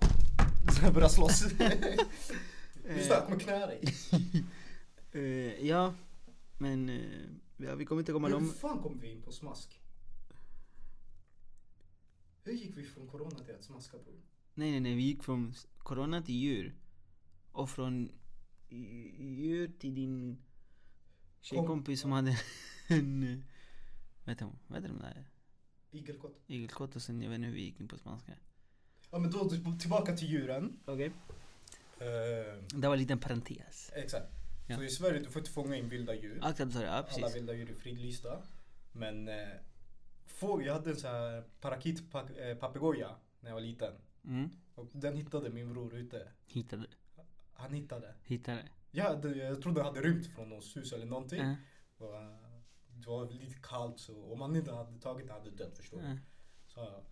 [SPEAKER 2] Jag börjar slåss. Just det, jag kommer knä dig.
[SPEAKER 1] Eh, ja, men eh, ja, vi kommer inte komma
[SPEAKER 2] Men hur
[SPEAKER 1] dem.
[SPEAKER 2] fan kom vi in på smask? Hur gick vi från corona till att smaska bror?
[SPEAKER 1] Nej, nej, nej. Vi gick från s- corona till djur. Och från i- djur till din tjejkompis som hade en... eh, Vad heter hon? Vad heter de där?
[SPEAKER 2] Igelkott.
[SPEAKER 1] Igelkott och sen jag vet inte hur vi gick in på spanska.
[SPEAKER 2] Ja men då tillbaka till djuren. Eh,
[SPEAKER 1] Okej. Det var en liten parentes.
[SPEAKER 2] Exakt.
[SPEAKER 1] Ja.
[SPEAKER 2] Så i Sverige du får inte fånga in vilda djur.
[SPEAKER 1] Akta du sa det, ja
[SPEAKER 2] Alla
[SPEAKER 1] precis.
[SPEAKER 2] vilda djur är fridlysta. Men eh, fåg, jag hade en sån här parakitpapegoja när jag var liten.
[SPEAKER 1] Mm.
[SPEAKER 2] Och den hittade min bror ute.
[SPEAKER 1] Hittade.
[SPEAKER 2] Han hittade.
[SPEAKER 1] Hittade.
[SPEAKER 2] Jag, hade, jag trodde den hade rymt från någons hus eller någonting.
[SPEAKER 1] Ja,
[SPEAKER 2] Och, eh, det var lite kallt så om han inte hade tagit den hade den dött förstår du.
[SPEAKER 1] ja.
[SPEAKER 2] Så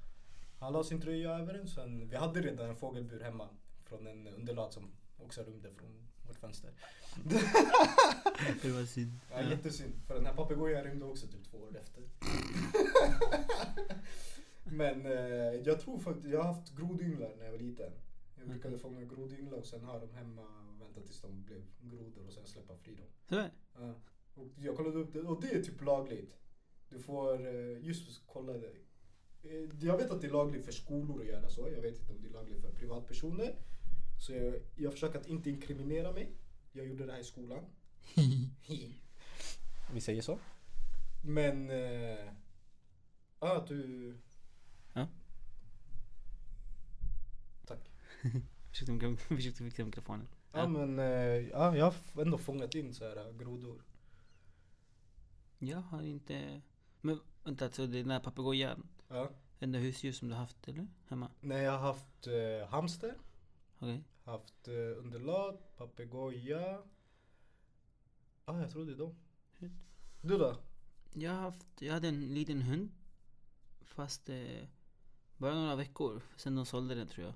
[SPEAKER 2] han la sin tröja över den. Sen, vi hade redan en fågelbur hemma från en underlag som också rymde från vårt fönster.
[SPEAKER 1] Det var synd.
[SPEAKER 2] Ja, Jättesynd, för den här papegojan rymde också typ två år efter. Men eh, jag tror faktiskt, jag har haft grodynglar när jag var liten. Jag brukade fånga grodynglar och sen ha dem hemma och vänta tills de blev grodor och sen släppa fri dem.
[SPEAKER 1] Sådär.
[SPEAKER 2] Ja. Och jag kollade upp det och det är typ lagligt. Du får, eh, just kolla det. Eh, Jag vet att det är lagligt för skolor att göra så. Jag vet inte om det är lagligt för privatpersoner. Så jag, jag försöker att inte inkriminera mig. Jag gjorde det här i skolan. Vi säger så. Men... eh, Ja, att du...
[SPEAKER 1] Ja.
[SPEAKER 2] Tack.
[SPEAKER 1] Försökte, mik- försökte fixa mikrofonen.
[SPEAKER 2] Ja,
[SPEAKER 1] Ja.
[SPEAKER 2] men eh, ja, jag har f- ändå fångat in så här eh, grodor.
[SPEAKER 1] Jag har inte... Men vänta, så det är den där papegojan.
[SPEAKER 2] Ja.
[SPEAKER 1] Enda husdjur som du haft eller? Hemma?
[SPEAKER 2] Nej, jag har haft eh, hamster,
[SPEAKER 1] Okej.
[SPEAKER 2] haft eh, underlat, papegoja. Ja, ah, jag tror det är dem.
[SPEAKER 1] Shit.
[SPEAKER 2] Du då?
[SPEAKER 1] Jag har haft, jag hade en liten hund. Fast eh, bara några veckor sen de sålde den tror jag.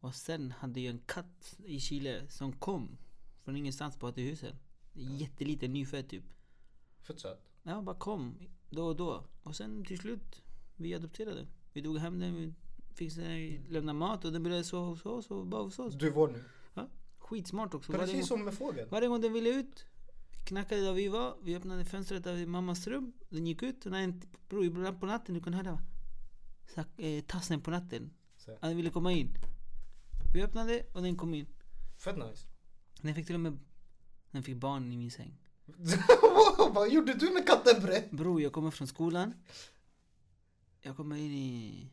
[SPEAKER 1] Och sen hade jag en katt i Chile som kom från ingenstans bara till huset. Jätteliten, nyfödd typ.
[SPEAKER 2] Fett söt.
[SPEAKER 1] Ja, han bara kom då och då. Och sen till slut, vi adopterade den. Vi tog hem den, vi fixade den, vi lämnade mat och den började sova hos oss och bara hos oss.
[SPEAKER 2] Du är vår nu.
[SPEAKER 1] Ja, skitsmart också. Varje
[SPEAKER 2] Precis
[SPEAKER 1] gång,
[SPEAKER 2] som med fågeln.
[SPEAKER 1] varje gång den ville ut knackade där vi var. Vi öppnade fönstret där vid mammas rum. Den gick ut och när den, bror, ibland på natten, du kunde höra så, här, eh, tassen på natten.
[SPEAKER 2] Så.
[SPEAKER 1] Att Den ville komma in. Vi öppnade och den kom in.
[SPEAKER 2] Fett nice.
[SPEAKER 1] Den fick till och med den fick barn i min säng.
[SPEAKER 2] Vad gjorde du med katten bre?
[SPEAKER 1] Bror, jag kommer från skolan. Jag kommer in i,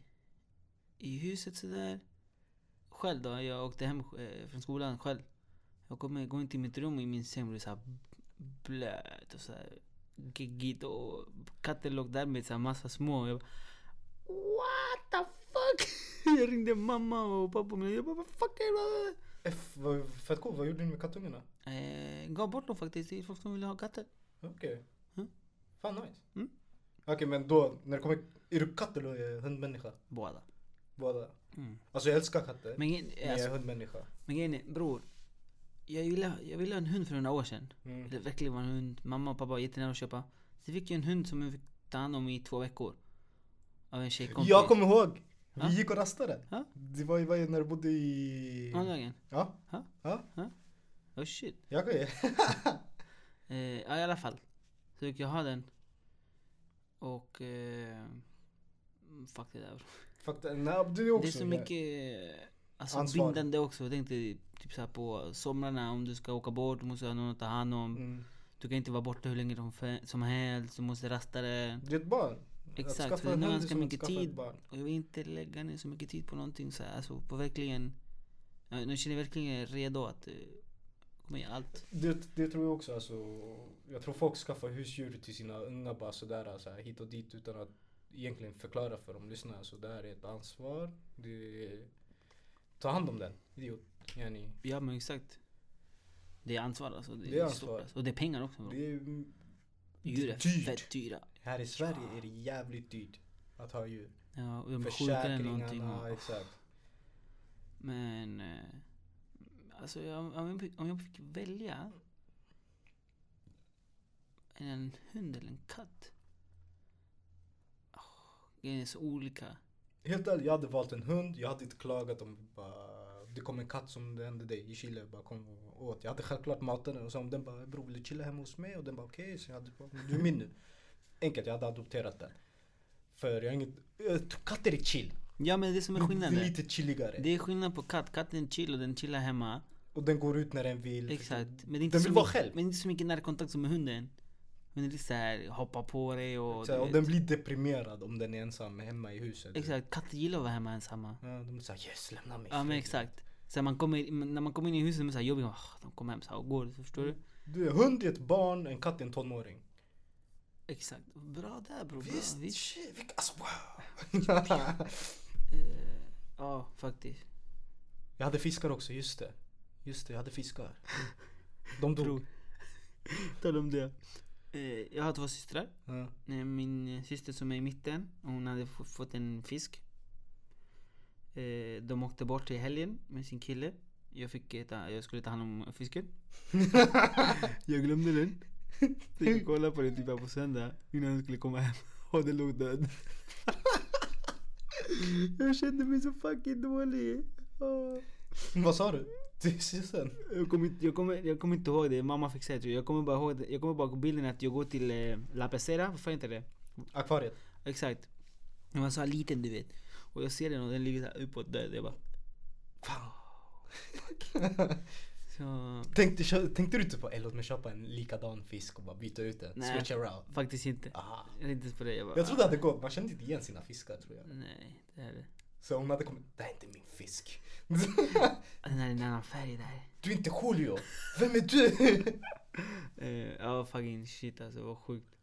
[SPEAKER 1] i huset sådär. Själv då, jag åkte hem eh, från skolan själv. Jag kommer, går in till mitt rum och i min säng blir såhär blöt och såhär geggigt och katten låg där med såhär massa små. Jag bara, What the fuck? jag ringde mamma och pappa men jag bara vad fuck är det?
[SPEAKER 2] F, vad- fett coolt, vad gjorde ni med kattungarna?
[SPEAKER 1] Eh, gav bort dem faktiskt till folk som ville ha katter.
[SPEAKER 2] Okej.
[SPEAKER 1] Mm.
[SPEAKER 2] Fan nice.
[SPEAKER 1] Mm.
[SPEAKER 2] Okej men då, när det kommer, är du katt eller eh, hundmänniska?
[SPEAKER 1] Båda.
[SPEAKER 2] Båda.
[SPEAKER 1] Mm.
[SPEAKER 2] Alltså jag älskar katter. Men,
[SPEAKER 1] Men, eh,
[SPEAKER 2] jag
[SPEAKER 1] alltså,
[SPEAKER 2] är hundmänniska.
[SPEAKER 1] Men grejen är, bror. Jag ville, jag ville ha en hund för några år sedan.
[SPEAKER 2] Mm.
[SPEAKER 1] Eller verkligen var en hund. Mamma och pappa var jättenära att köpa. Så fick jag en hund som jag fick ta hand om i två veckor. Av en tjejkompis.
[SPEAKER 2] Jag kommer ihåg. Vi
[SPEAKER 1] Ja.
[SPEAKER 2] gick och rastade.
[SPEAKER 1] Ja.
[SPEAKER 2] Det var ju var ju när du bodde i...
[SPEAKER 1] Andagen.
[SPEAKER 2] Ja.
[SPEAKER 1] Ja.
[SPEAKER 2] Ja.
[SPEAKER 1] Oh shit.
[SPEAKER 2] Jag kan ju.
[SPEAKER 1] Eh, ja, i alla fall. Så fick jag ha den. Och eh, Mm, Fuck det där.
[SPEAKER 2] Fattar Nej, det är också.
[SPEAKER 1] Det är så
[SPEAKER 2] ja.
[SPEAKER 1] mycket eh, alltså,
[SPEAKER 2] Ansvar.
[SPEAKER 1] bindande också. Jag tänkte typ så här på somrarna om du ska åka bort, du måste ha någon att ta hand om.
[SPEAKER 2] Mm.
[SPEAKER 1] Du kan inte vara borta hur länge som fe- som helst, du måste rasta det.
[SPEAKER 2] Det är ett barn.
[SPEAKER 1] Exakt,
[SPEAKER 2] Att skaffa
[SPEAKER 1] så det
[SPEAKER 2] en
[SPEAKER 1] tar
[SPEAKER 2] hund är
[SPEAKER 1] ganska
[SPEAKER 2] som att
[SPEAKER 1] mycket
[SPEAKER 2] skaffa ett
[SPEAKER 1] tid.
[SPEAKER 2] barn.
[SPEAKER 1] Och jag vill inte lägga ner så mycket tid på någonting så här. Alltså på verkligen. Jag, jag känner verkligen redo att eh, komma i allt.
[SPEAKER 2] Det, det tror jag också. Alltså, jag tror folk skaffar husdjur till sina unga bara sådär så här, hit och dit utan att egentligen förklara för dem. Lyssna, alltså, det här är ett ansvar. Det är... Ta hand om den, idiot. Yani,
[SPEAKER 1] Ja men exakt. Det är ansvar alltså. Det,
[SPEAKER 2] Det är
[SPEAKER 1] är stort
[SPEAKER 2] ansvar.
[SPEAKER 1] alltså. Och det är pengar också. bro.
[SPEAKER 2] det är,
[SPEAKER 1] Djur är
[SPEAKER 2] dyrt.
[SPEAKER 1] fett dyra.
[SPEAKER 2] här i Sverige är det jävligt dyrt att ha djur.
[SPEAKER 1] Ja, och de blir sjuka eller någonting.
[SPEAKER 2] Försäkringarna,
[SPEAKER 1] Och,
[SPEAKER 2] exakt.
[SPEAKER 1] Men... Eh, alltså jag, om, jag fick, om jag fick välja... En hund eller en katt? Åh, Det är så olika.
[SPEAKER 2] Helt ärligt, jag hade valt en hund. Jag hade inte klagat om bara, det kom en katt som det hände dig i Chile. Bara kom och åt. Jag hade självklart matat den och sa om den bara bror vill du chilla hemma hos mig? Och den bara okej. Så jag hade bara, du är min nu. Enkelt, jag hade adopterat den. För jag har inget, eh, katter är chill.
[SPEAKER 1] Ja men det är som är skillnaden.
[SPEAKER 2] Det är lite chilligare.
[SPEAKER 1] Det är skillnad på katt. Katten chillar, den chillar hemma.
[SPEAKER 2] Och den går ut när den vill.
[SPEAKER 1] Exakt. Men det är inte
[SPEAKER 2] Den
[SPEAKER 1] så
[SPEAKER 2] vill vara
[SPEAKER 1] mycket-
[SPEAKER 2] själv.
[SPEAKER 1] Men inte så mycket närkontakt som med hunden. Hunden är lite såhär, hoppar på dig och...
[SPEAKER 2] Så, här,
[SPEAKER 1] du
[SPEAKER 2] och
[SPEAKER 1] vet.
[SPEAKER 2] den blir deprimerad om den är ensam hemma i huset.
[SPEAKER 1] Exakt, katter gillar att vara hemma ensamma.
[SPEAKER 2] Ja, de blir såhär yes, lämna mig. i
[SPEAKER 1] Ja men
[SPEAKER 2] fred."
[SPEAKER 1] exakt. Så man kommer, när man kommer in i huset, de är såhär jobbiga. "Åh, De kommer hem såhär och går, förstår du?
[SPEAKER 2] Du, hund är ett barn, en katt är en tonåring.
[SPEAKER 1] Exakt. Bra där bror.
[SPEAKER 2] Visst,
[SPEAKER 1] Bra,
[SPEAKER 2] visst.
[SPEAKER 1] visst.
[SPEAKER 2] shit, vilka- alltså wow.
[SPEAKER 1] Eh, ja, faktiskt.
[SPEAKER 2] Jag hade fiskar också, just det. Just det, jag hade fiskar. De dog.
[SPEAKER 1] Bror. Tala om det. Eh, jag har två systrar.
[SPEAKER 2] Ja.
[SPEAKER 1] Eh, Min eh, syster som är i mitten, hon hade f- fått en fisk. Eh, De åkte bort i helgen med sin kille. Jag, fick eh, ta, jag skulle ta hand om fisken. jag glömde den. Så jag kollade på den typ här på söndag innan jag skulle komma hem. Och den låg död. jag kände mig så fucking dålig. Åh.
[SPEAKER 2] Vad sa du? Till systern?
[SPEAKER 1] Jag kommer, inte, jag, kommer, jag kommer inte ihåg det, mamma fick säga det. Jag kommer bara ihåg det. Jag kommer bara ihåg bilden att jag går till eh, La Pecera, varför inte det?
[SPEAKER 2] Akvariet?
[SPEAKER 1] Exakt. Den var så här liten du vet. Och jag ser den och den ligger så här uppåt död. Jag bara...
[SPEAKER 2] Fan.
[SPEAKER 1] Så...
[SPEAKER 2] tänkte, kö- tänkte du inte på, "Eh, låt mig köpa en likadan fisk och bara byta ut den?
[SPEAKER 1] Nej.
[SPEAKER 2] Switch around.
[SPEAKER 1] Faktiskt inte.
[SPEAKER 2] Aha.
[SPEAKER 1] Jag tänkte ens på det. Jag bara... "Ah,
[SPEAKER 2] Jag trodde att det går, man kände inte igen sina fiskar tror jag.
[SPEAKER 1] Nej, det är det.
[SPEAKER 2] Så hon hade kommit, det här är inte min fisk.
[SPEAKER 1] Ah, Den här är en annan färg där.
[SPEAKER 2] du är inte Julio, vem är du?
[SPEAKER 1] Eh, Ja, fucking shit alltså. Vad sjukt.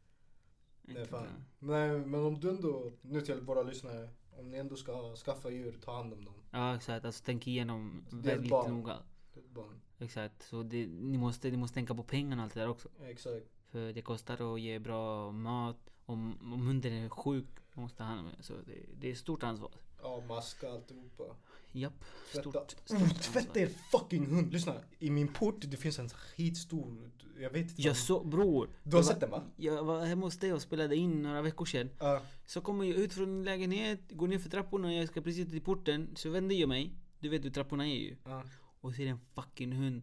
[SPEAKER 2] Nej,
[SPEAKER 1] Inte
[SPEAKER 2] fan.
[SPEAKER 1] bra.
[SPEAKER 2] Nej men om du ändå, nu till våra lyssnare, om ni ändå ska skaffa djur, ta hand om dem.
[SPEAKER 1] Ja, exakt. Alltså tänk igenom
[SPEAKER 2] är ett
[SPEAKER 1] väldigt
[SPEAKER 2] barn.
[SPEAKER 1] noga.
[SPEAKER 2] Det är ett barn.
[SPEAKER 1] Exakt. Så det, ni, måste, ni måste tänka på pengarna och allt det där också.
[SPEAKER 2] Exakt.
[SPEAKER 1] För det kostar att ge bra mat. Om, om hunden är sjuk, man måste ta hand om den. Så det, det är stort ansvar.
[SPEAKER 2] Ja, maska, alltihopa.
[SPEAKER 1] Japp.
[SPEAKER 2] Tvätta.
[SPEAKER 1] Stort, stort
[SPEAKER 2] Oh,
[SPEAKER 1] ansvar.
[SPEAKER 2] tvätta er fucking hund! Lyssna, i min port det finns en skitstor, jag vet inte.
[SPEAKER 1] Jag så, bror.
[SPEAKER 2] Du har
[SPEAKER 1] jag
[SPEAKER 2] sett
[SPEAKER 1] var,
[SPEAKER 2] den va?
[SPEAKER 1] Jag var hemma hos dig och spelade in några veckor sedan.
[SPEAKER 2] Ja.
[SPEAKER 1] Så kommer jag ut från lägenhet, går ner för trapporna och jag ska precis till porten. Så vänder jag mig. Du vet hur trapporna är ju.
[SPEAKER 2] ja.
[SPEAKER 1] Och ser en fucking hund.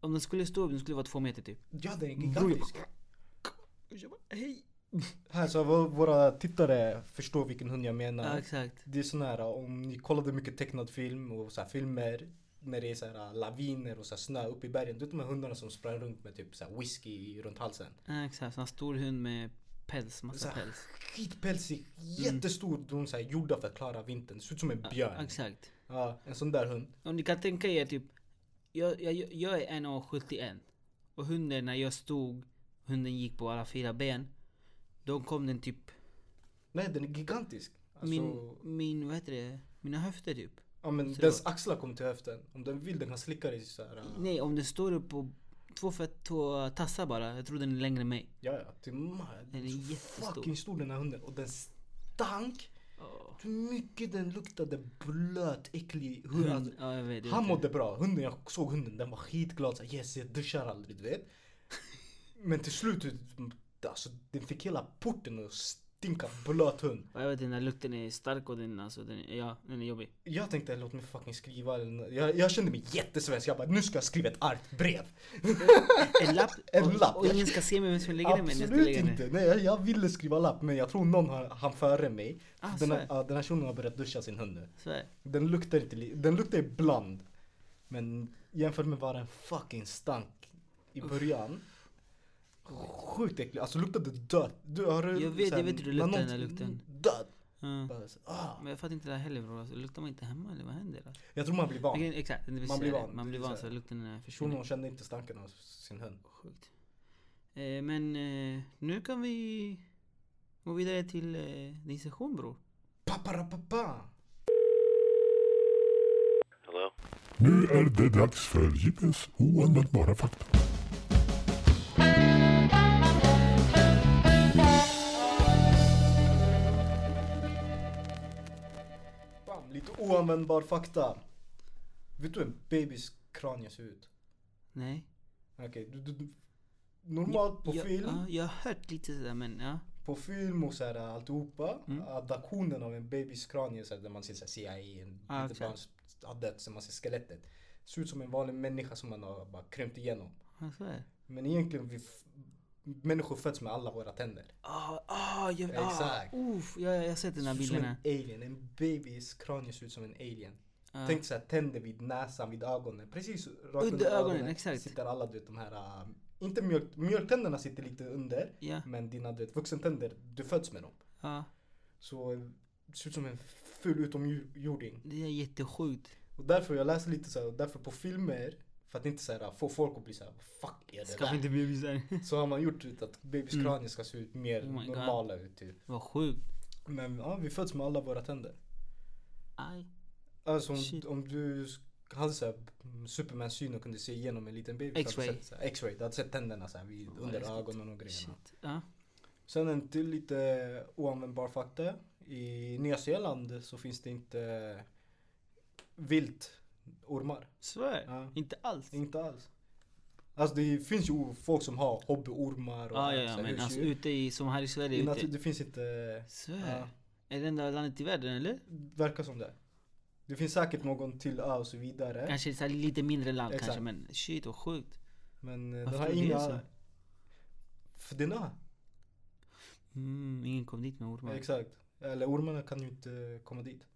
[SPEAKER 1] Om den skulle stå upp, den skulle vara två meter typ.
[SPEAKER 2] ja, den är
[SPEAKER 1] Bror, jag
[SPEAKER 2] gigantisk.
[SPEAKER 1] bara- Och jag bara, hej!
[SPEAKER 2] Här så vå- våra tittare förstår vilken hund jag menar.
[SPEAKER 1] Ja, exakt.
[SPEAKER 2] Det är sån här, om ni kollade mycket tecknad film och så här filmer när det är så här äh, laviner och så här snö uppe i bergen. Du vet de här hundarna som sprang runt med typ så här whisky runt halsen.
[SPEAKER 1] Ja, exakt. Sån här stor hund med päls,
[SPEAKER 2] Så
[SPEAKER 1] massa
[SPEAKER 2] här
[SPEAKER 1] päls.
[SPEAKER 2] skitpälsig, jättestor. De är så här gjorda för att klara vintern. Ser ut som en
[SPEAKER 1] Mm. Ja,
[SPEAKER 2] björn.
[SPEAKER 1] exakt.
[SPEAKER 2] Ja, en sån där hund.
[SPEAKER 1] Om ni kan tänka er typ, jag, jag, jag är 1,71 och hunden när jag stod, hunden gick på alla fyra ben. Då kom den typ,
[SPEAKER 2] Nej den är gigantisk. Alltså,
[SPEAKER 1] min, min, vad heter det, mina höfter typ.
[SPEAKER 2] ja, men
[SPEAKER 1] så
[SPEAKER 2] dens axlar kommer till höften. Om den vill den kan slicka dig så här. äh,
[SPEAKER 1] Nej, om den står upp på två, föt, två tassar bara. Jag tror den är längre än mig.
[SPEAKER 2] Ja ja, till
[SPEAKER 1] Den är jättestor.
[SPEAKER 2] Fucking stor den här hunden. Och den stank.
[SPEAKER 1] Ja,
[SPEAKER 2] Hur mycket den luktade blöt, äcklig hund.
[SPEAKER 1] hund,
[SPEAKER 2] Alltså,
[SPEAKER 1] ja jag vet. jag
[SPEAKER 2] han
[SPEAKER 1] vet.
[SPEAKER 2] mådde bra. Hunden, jag såg hunden, den var skitglad. Så här, yes, jag duschar aldrig, du vet. Men till slut, alltså, den fick hela porten att stinka blöt hund.
[SPEAKER 1] Ja, Jag vet den där lukten är stark och den, alltså, den, är- ja, den är jobbig.
[SPEAKER 2] Jag tänkte låt mig fucking skriva eller nå- jag, jag kände mig jättesvensk, jag bara nu ska jag skriva ett argt brev.
[SPEAKER 1] En lapp.
[SPEAKER 2] En
[SPEAKER 1] och,
[SPEAKER 2] lapp.
[SPEAKER 1] Och ingen ska se mig vem som lägger den men jag ska
[SPEAKER 2] Absolut
[SPEAKER 1] lägga den.
[SPEAKER 2] inte! Nej jag, jag ville skriva lapp men jag tror någon har, han före mig.
[SPEAKER 1] Ah,
[SPEAKER 2] den, här,
[SPEAKER 1] svär.
[SPEAKER 2] ja, den här shunon har börjat duscha sin hund nu.
[SPEAKER 1] Svär.
[SPEAKER 2] Den luktar inte, li- den luktar ibland. Men jämfört med vad den fucking stank i början. Sjukt äcklig, alltså luktade död. Du, har du,
[SPEAKER 1] Jag vet-
[SPEAKER 2] så här,
[SPEAKER 1] jag vet hur det
[SPEAKER 2] när
[SPEAKER 1] luktar, den
[SPEAKER 2] någon-
[SPEAKER 1] här lukten.
[SPEAKER 2] Död!
[SPEAKER 1] Ja.
[SPEAKER 2] Bara så, ah.
[SPEAKER 1] Men jag fattar inte det här heller bror. Alltså, luktar man inte hemma eller vad händer? Alltså?
[SPEAKER 2] Jag tror man blir van.
[SPEAKER 1] Okej, exakt, det vill
[SPEAKER 2] Man
[SPEAKER 1] säga
[SPEAKER 2] blir
[SPEAKER 1] det.
[SPEAKER 2] van,
[SPEAKER 1] Man
[SPEAKER 2] det
[SPEAKER 1] blir
[SPEAKER 2] är
[SPEAKER 1] van
[SPEAKER 2] så
[SPEAKER 1] så
[SPEAKER 2] här.
[SPEAKER 1] lukten eh, försvinner.
[SPEAKER 2] Shunon kände inte stanken av sin hund.
[SPEAKER 1] Sjukt. Eh, men eh, nu kan vi gå vidare till eh, din session bror.
[SPEAKER 2] Paparapapa!
[SPEAKER 3] Hello?
[SPEAKER 4] Nu är det dags för Jippes oanvändbara fakta.
[SPEAKER 2] Bam, lite oanvändbar fakta. Vet du hur en babys kranie ser ut?
[SPEAKER 1] Nej.
[SPEAKER 2] Okej, du, du, du, normalt på
[SPEAKER 1] jag,
[SPEAKER 2] film,
[SPEAKER 1] Ja, jag har hört lite sådär men ja.
[SPEAKER 2] på film och så här alltihopa.
[SPEAKER 1] Mm.
[SPEAKER 2] Adaptionen av en babys kranie, så här, där man ser så här CIA, en
[SPEAKER 1] Ah,
[SPEAKER 2] litet
[SPEAKER 1] okej.
[SPEAKER 2] barn som har dött, så man ser skelettet. Ser ut som en vanlig människa som man har bara krympt igenom.
[SPEAKER 1] Jag svär.
[SPEAKER 2] Men egentligen, vi f- människor föds med alla våra tänder.
[SPEAKER 1] Ah, ah, jag,
[SPEAKER 2] Exakt.
[SPEAKER 1] Ah, uff, ja, ja, jag har sett den här
[SPEAKER 2] Ser ut som
[SPEAKER 1] bilden.
[SPEAKER 2] en alien. En babys kranie ser ut som en alien.
[SPEAKER 1] Ja.
[SPEAKER 2] Tänk så här, tänder vid näsan, vid ögonen. Precis rakt
[SPEAKER 1] Under ögonen, exakt.
[SPEAKER 2] Sitter alla du vet de här, äh, inte mjölk, mjölktänderna sitter lite under.
[SPEAKER 1] Ja.
[SPEAKER 2] Men dina du vet, vuxentänder, du föds med dem.
[SPEAKER 1] Ja,
[SPEAKER 2] Så äh, ser ut som en ful utomjording.
[SPEAKER 1] det är jättesjukt.
[SPEAKER 2] Och därför jag läser lite så här, och därför på filmer, för att inte så här, få folk att bli så här, "Vad fuck är det
[SPEAKER 1] Skaffa
[SPEAKER 2] där?
[SPEAKER 1] inte bebisar.
[SPEAKER 2] Så har man gjort ut att babys kranier ska se ut mer
[SPEAKER 1] Mm. Oh my God.
[SPEAKER 2] normala ut typ.
[SPEAKER 1] Vad sjukt.
[SPEAKER 2] Men ja, vi föds med alla våra tänder.
[SPEAKER 1] Aj.
[SPEAKER 2] Alltså om,
[SPEAKER 1] Shit.
[SPEAKER 2] om du sk- hade såhär Supermans syn och kunde se igenom en liten baby. så hade du
[SPEAKER 1] X-ray.
[SPEAKER 2] sett såhär- X-ray. Du hade sett tänderna såhär vid, under
[SPEAKER 1] läskigt.
[SPEAKER 2] ögonen och grejerna.
[SPEAKER 1] Shit. Ja.
[SPEAKER 2] Sen en till lite oanvändbar fakta. I Nya Zeeland så finns det inte vilt ormar.
[SPEAKER 1] Svär.
[SPEAKER 2] Ja.
[SPEAKER 1] Inte alls.
[SPEAKER 2] Inte alls. Alltså det finns ju folk som har hobbyormar och
[SPEAKER 1] Ja, ja,
[SPEAKER 2] så
[SPEAKER 1] ja,
[SPEAKER 2] här
[SPEAKER 1] men
[SPEAKER 2] husdjur.
[SPEAKER 1] alltså ute i, som här i Sverige.
[SPEAKER 2] I
[SPEAKER 1] ute.
[SPEAKER 2] natur- det finns inte,
[SPEAKER 1] Svär.
[SPEAKER 2] Ja.
[SPEAKER 1] Är det enda landet i världen eller?
[SPEAKER 2] verkar som det. Det finns säkert någon till ö och så vidare.
[SPEAKER 1] Kanske så här lite mindre land
[SPEAKER 2] Exakt.
[SPEAKER 1] kanske men shit vad sjukt.
[SPEAKER 2] Men eh,
[SPEAKER 1] Varför
[SPEAKER 2] den har
[SPEAKER 1] är det
[SPEAKER 2] inga...
[SPEAKER 1] så?
[SPEAKER 2] För den har.
[SPEAKER 1] Mm, ingen kom dit med ormar.
[SPEAKER 2] Exakt. Eller ormarna kan ju inte komma dit.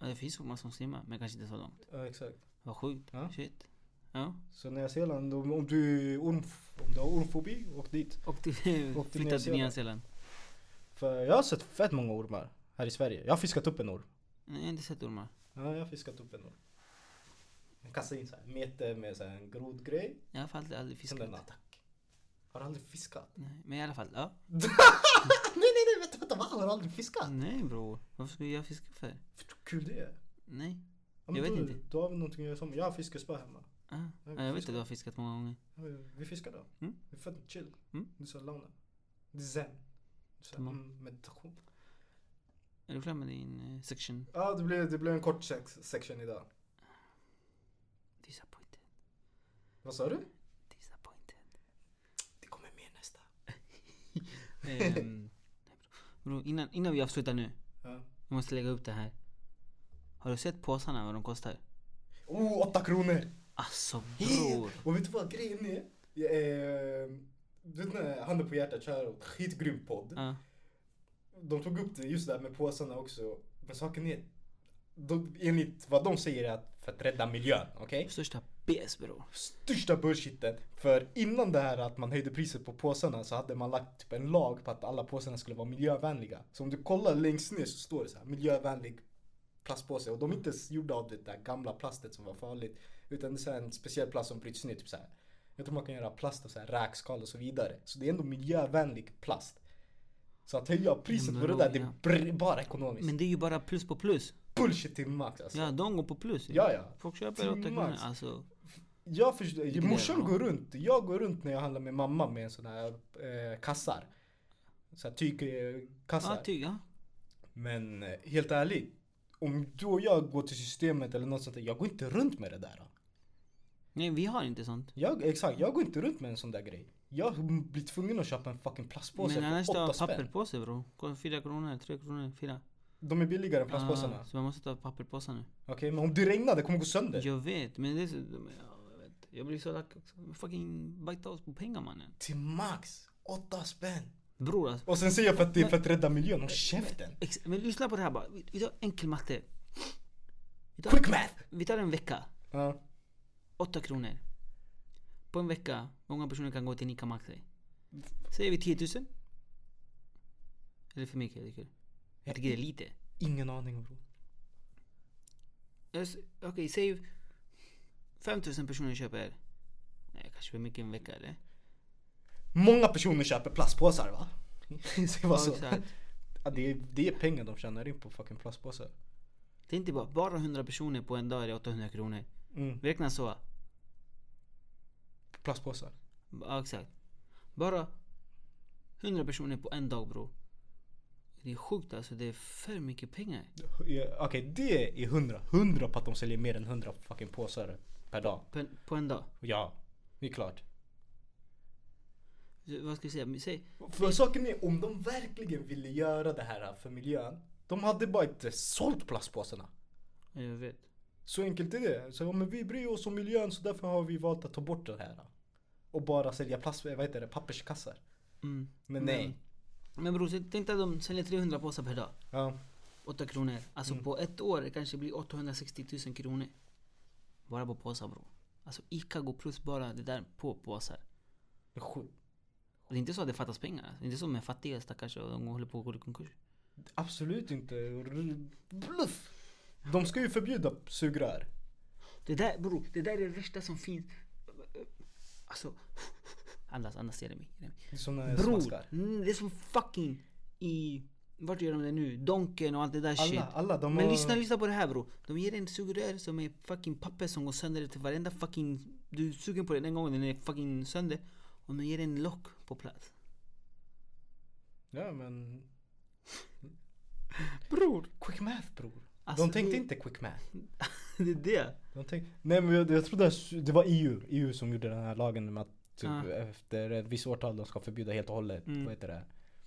[SPEAKER 1] Ja, det finns ormar som simmar men kanske inte så långt.
[SPEAKER 2] Ja, exakt.
[SPEAKER 1] Vad sjukt.
[SPEAKER 2] Ja.
[SPEAKER 1] Shit. Ja.
[SPEAKER 2] Så Nya Zeeland, om, om, du, är orm, om du har ormfobi, åk dit.
[SPEAKER 1] Och du
[SPEAKER 2] Och till Nya
[SPEAKER 1] flyttade till Nya Zeeland.
[SPEAKER 2] För jag har sett fett många ormar här i Sverige. Jag har fiskat upp en orm.
[SPEAKER 1] Nej, jag har inte sett ormar.
[SPEAKER 2] Ja, jag har fiskat upp en orm. Man kastar in så här en meter med så här en grodgrej.
[SPEAKER 1] Jag har i alla fall aldrig
[SPEAKER 2] Sen den
[SPEAKER 1] fiskat.
[SPEAKER 2] attack. Har du aldrig fiskat?
[SPEAKER 1] Nej, men i alla fall, ja.
[SPEAKER 2] Ah, Nej, nej, nej, vänta, vänta, va? Har du aldrig fiskat?
[SPEAKER 1] Nej bror. Varför skulle jag fiska för?
[SPEAKER 2] Vet du hur kul det är?
[SPEAKER 1] Nej.
[SPEAKER 2] Ja, men
[SPEAKER 1] Jag vet
[SPEAKER 2] då,
[SPEAKER 1] inte.
[SPEAKER 2] Då har vi någonting att göra som. Jag har fiskespö hemma.
[SPEAKER 1] Ah.
[SPEAKER 2] Jag
[SPEAKER 1] Ja, jag vet
[SPEAKER 2] fiskar.
[SPEAKER 1] att du har fiskat många gånger.
[SPEAKER 2] Ja, Vi fiskar då.
[SPEAKER 1] Mm.
[SPEAKER 2] Det är fett chill.
[SPEAKER 1] Mm.
[SPEAKER 2] Det är så lugna. Det är zen. Det är så här,
[SPEAKER 1] Tamam.
[SPEAKER 2] mm, meditation.
[SPEAKER 1] Är du klar med din eh, section?
[SPEAKER 2] Ja, det blir, det blir en kort sex section idag.
[SPEAKER 1] Disappointed.
[SPEAKER 2] Vad sa du?
[SPEAKER 1] Disappointed.
[SPEAKER 2] Det kommer mer nästa.
[SPEAKER 1] Ehm, bror, innan, innan vi avslutar nu.
[SPEAKER 2] Ja.
[SPEAKER 1] Jag måste lägga upp det här. Har du sett påsarna vad de kostar?
[SPEAKER 2] Oh, åtta kronor!
[SPEAKER 1] Alltså bror.
[SPEAKER 2] Och vet du vad grejen är? Jag, eh, du vet när handen på hjärtat kör och skitgrym podd.
[SPEAKER 1] Ja.
[SPEAKER 2] De tog upp det just där med påsarna också. Men saken är, de, enligt vad de säger är att för att rädda miljön, okej?
[SPEAKER 1] Största BS bror.
[SPEAKER 2] största bullshiten. För innan det här att man höjde priset på påsarna så hade man lagt typ en lag på att alla påsarna skulle vara miljövänliga. Så om du kollar längst ner så står det så här miljövänlig plastpåse och de är inte ens gjorda av det där gamla plastet som var farligt. Utan det är så här en speciell plast som bryts ner typ så här. Jag tror man kan göra plast av så här räkskal och så vidare. Så det är ändå miljövänlig plast. Så att höja priset
[SPEAKER 1] men
[SPEAKER 2] på det
[SPEAKER 1] då,
[SPEAKER 2] där, det
[SPEAKER 1] ja.
[SPEAKER 2] är br- bara ekonomiskt.
[SPEAKER 1] Men det är ju bara plus på plus.
[SPEAKER 2] Bullshit till max alltså.
[SPEAKER 1] Ja, de går på plus.
[SPEAKER 2] Ja, ja.
[SPEAKER 1] Folk köper 8
[SPEAKER 2] Till
[SPEAKER 1] kronor.
[SPEAKER 2] max.
[SPEAKER 1] Alltså,
[SPEAKER 2] Jag förstår,
[SPEAKER 1] Vilken är
[SPEAKER 2] morsan
[SPEAKER 1] det?
[SPEAKER 2] går runt, jag går runt när jag handlar med mamma med en sån här eh, kassar. Så här tygkassar.
[SPEAKER 1] ja, tyg, ja.
[SPEAKER 2] Men eh, helt ärligt, om du och jag går till systemet eller något sånt där, jag går inte runt med det där.
[SPEAKER 1] Nej, vi har inte sånt.
[SPEAKER 2] Jag, exakt, jag går inte runt med en sån där grej. Jag blir tvungen att köpa en fucking plastpåse
[SPEAKER 1] Men annars
[SPEAKER 2] för
[SPEAKER 1] ta
[SPEAKER 2] åtta spänn.
[SPEAKER 1] papperpåse bro. Kolla, Fyra kronor, tre kronor, fyra.
[SPEAKER 2] De är billigare än plastpåsarna.
[SPEAKER 1] Ah, så man måste ta papperpåsar nu.
[SPEAKER 2] Okej, men om det regnar det kommer gå sönder.
[SPEAKER 1] Jag vet, men det är så... de- ja, jag vet. Jag blir så lack också. Men Fucking bajta oss på pengar mannen.
[SPEAKER 2] Till max åtta spänn.
[SPEAKER 1] Bror alltså.
[SPEAKER 2] Och sen säger jag för att det är för att rädda miljön. Håll käften.
[SPEAKER 1] Ex- Men lyssna på det här bara. Vi vi tar enkel matte. Vi tar,
[SPEAKER 2] Quick math!
[SPEAKER 1] vi tar en vecka.
[SPEAKER 2] Ja.
[SPEAKER 1] 8 kronor. På en vecka, många personer kan gå till Ica Maxi. Säger vi 10 000? Eller för mycket, jag tycker. Jag tycker det är lite.
[SPEAKER 2] Ingen aning bror.
[SPEAKER 1] Eller s- Okej, säg 5 000 personer köper. Nej, kanske för mycket en vecka eller?
[SPEAKER 2] Många personer köper plastpåsar va? Säg bara
[SPEAKER 1] Ja,
[SPEAKER 2] så.
[SPEAKER 1] exakt.
[SPEAKER 2] Ja, det, är, det är pengar de tjänar in på fucking plastpåsar.
[SPEAKER 1] Det är inte bara, bara 100 personer på en dag är det 800 kronor.
[SPEAKER 2] Mm.
[SPEAKER 1] Vi räknar så.
[SPEAKER 2] Plastpåsar.
[SPEAKER 1] Ja, exakt. Bara 100 personer på en dag bror. Det är sjukt alltså, det är för mycket pengar.
[SPEAKER 2] Ja, Okej, det är hundra. Hundra på att de säljer mer än hundra fucking påsar per dag.
[SPEAKER 1] På en, på en dag.
[SPEAKER 2] Ja, det är klart.
[SPEAKER 1] Vad ska jag säga? Men Säg,
[SPEAKER 2] För saken är, om de verkligen ville göra det här för miljön. De hade bara inte sålt plastpåsarna.
[SPEAKER 1] Ja, Jag vet.
[SPEAKER 2] Så enkelt är det. Så, ja, men vi bryr oss om miljön så därför har vi valt att ta bort det här. Och bara sälja plast, vad heter det, papperskassar.
[SPEAKER 1] Mm.
[SPEAKER 2] Men nej.
[SPEAKER 1] Men bror, så tänk dig att de säljer 300 påsar per dag.
[SPEAKER 2] Ja.
[SPEAKER 1] 8 kronor. Alltså
[SPEAKER 2] Mm.
[SPEAKER 1] på ett år det kanske blir 860 000 kronor. Bara på påsar bror. Alltså Ica går plus bara det där på påsar.
[SPEAKER 2] det är sjukt.
[SPEAKER 1] Och det är inte så att det fattas pengar. alltså. Det är inte så med fattiga stackars och de håller på att gå i konkurs.
[SPEAKER 2] Absolut inte. R- Bluff! De ska ju förbjuda sugrör.
[SPEAKER 1] Det där bror, det där är det värsta som finns. Alltså. Andas, andas Jeremy. Jeremy.
[SPEAKER 2] Det är som när jag
[SPEAKER 1] Bror,
[SPEAKER 2] smaskar.
[SPEAKER 1] mm, det är som fucking i... Vart gör de det nu? Donken och allt det där
[SPEAKER 2] Alla-
[SPEAKER 1] shit.
[SPEAKER 2] alla, de
[SPEAKER 1] Men
[SPEAKER 2] har-
[SPEAKER 1] lyssna, lyssna på det här bro. De ger dig en sugrör som är fucking papper som går sönder till varenda fucking... Du suger på den en gång och den är fucking sönder. Och de ger dig en lock på plats.
[SPEAKER 2] Ja men...
[SPEAKER 1] Bror!
[SPEAKER 2] Quick math bror.
[SPEAKER 1] Alltså,
[SPEAKER 2] de tänkte
[SPEAKER 1] det-
[SPEAKER 2] inte quick math.
[SPEAKER 1] det är det.
[SPEAKER 2] De tänkte... Nej men jag, jag tror det, här su- det var E EU. EU som gjorde den här lagen med att typ,
[SPEAKER 1] Ah.
[SPEAKER 2] efter ett visst årtal de ska förbjuda helt och hållet.
[SPEAKER 1] Mm.
[SPEAKER 2] Vad heter det?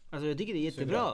[SPEAKER 1] Alltså jag tycker det är jättebra.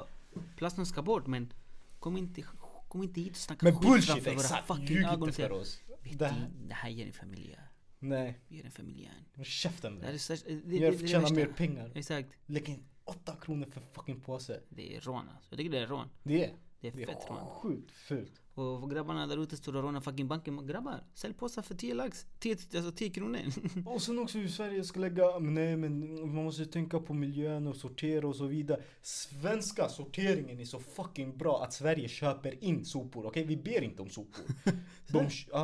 [SPEAKER 1] Plasten ska bort men kom inte, kom inte hit och snacka
[SPEAKER 2] Men
[SPEAKER 1] skit
[SPEAKER 2] bullshit
[SPEAKER 1] framför
[SPEAKER 2] exakt!
[SPEAKER 1] våra fucking
[SPEAKER 2] Ljug
[SPEAKER 1] ögon.
[SPEAKER 2] inte
[SPEAKER 1] och
[SPEAKER 2] för
[SPEAKER 1] säga,
[SPEAKER 2] oss.
[SPEAKER 1] Vet det,
[SPEAKER 2] Det här,
[SPEAKER 1] det här ger en för miljö.
[SPEAKER 2] nej,
[SPEAKER 1] Vi ger en för miljön.
[SPEAKER 2] käften
[SPEAKER 1] Det här
[SPEAKER 2] bror.
[SPEAKER 1] är så, det, det, det, är
[SPEAKER 2] Jag
[SPEAKER 1] det
[SPEAKER 2] förtjänar
[SPEAKER 1] värsta.
[SPEAKER 2] mer pengar.
[SPEAKER 1] Exakt.
[SPEAKER 2] Lägg in 8 kronor för fucking påse.
[SPEAKER 1] Det är rån alltså. Jag tycker det är rån.
[SPEAKER 2] Det är,
[SPEAKER 1] Det är
[SPEAKER 2] det
[SPEAKER 1] fett rån.
[SPEAKER 2] är sjukt fult.
[SPEAKER 1] Och grabbarna där ute står och rånar fucking banken. Men Grabbar, sälj påsar för 10 lax. 10, alltså 10 kronor.
[SPEAKER 2] Och sen också hur Sverige ska lägga, men nej men man måste ju tänka på miljön och sortera och så vidare. Svenska sorteringen är så fucking bra att Sverige köper in sopor, okej? Vi ber inte om sopor. de, ja,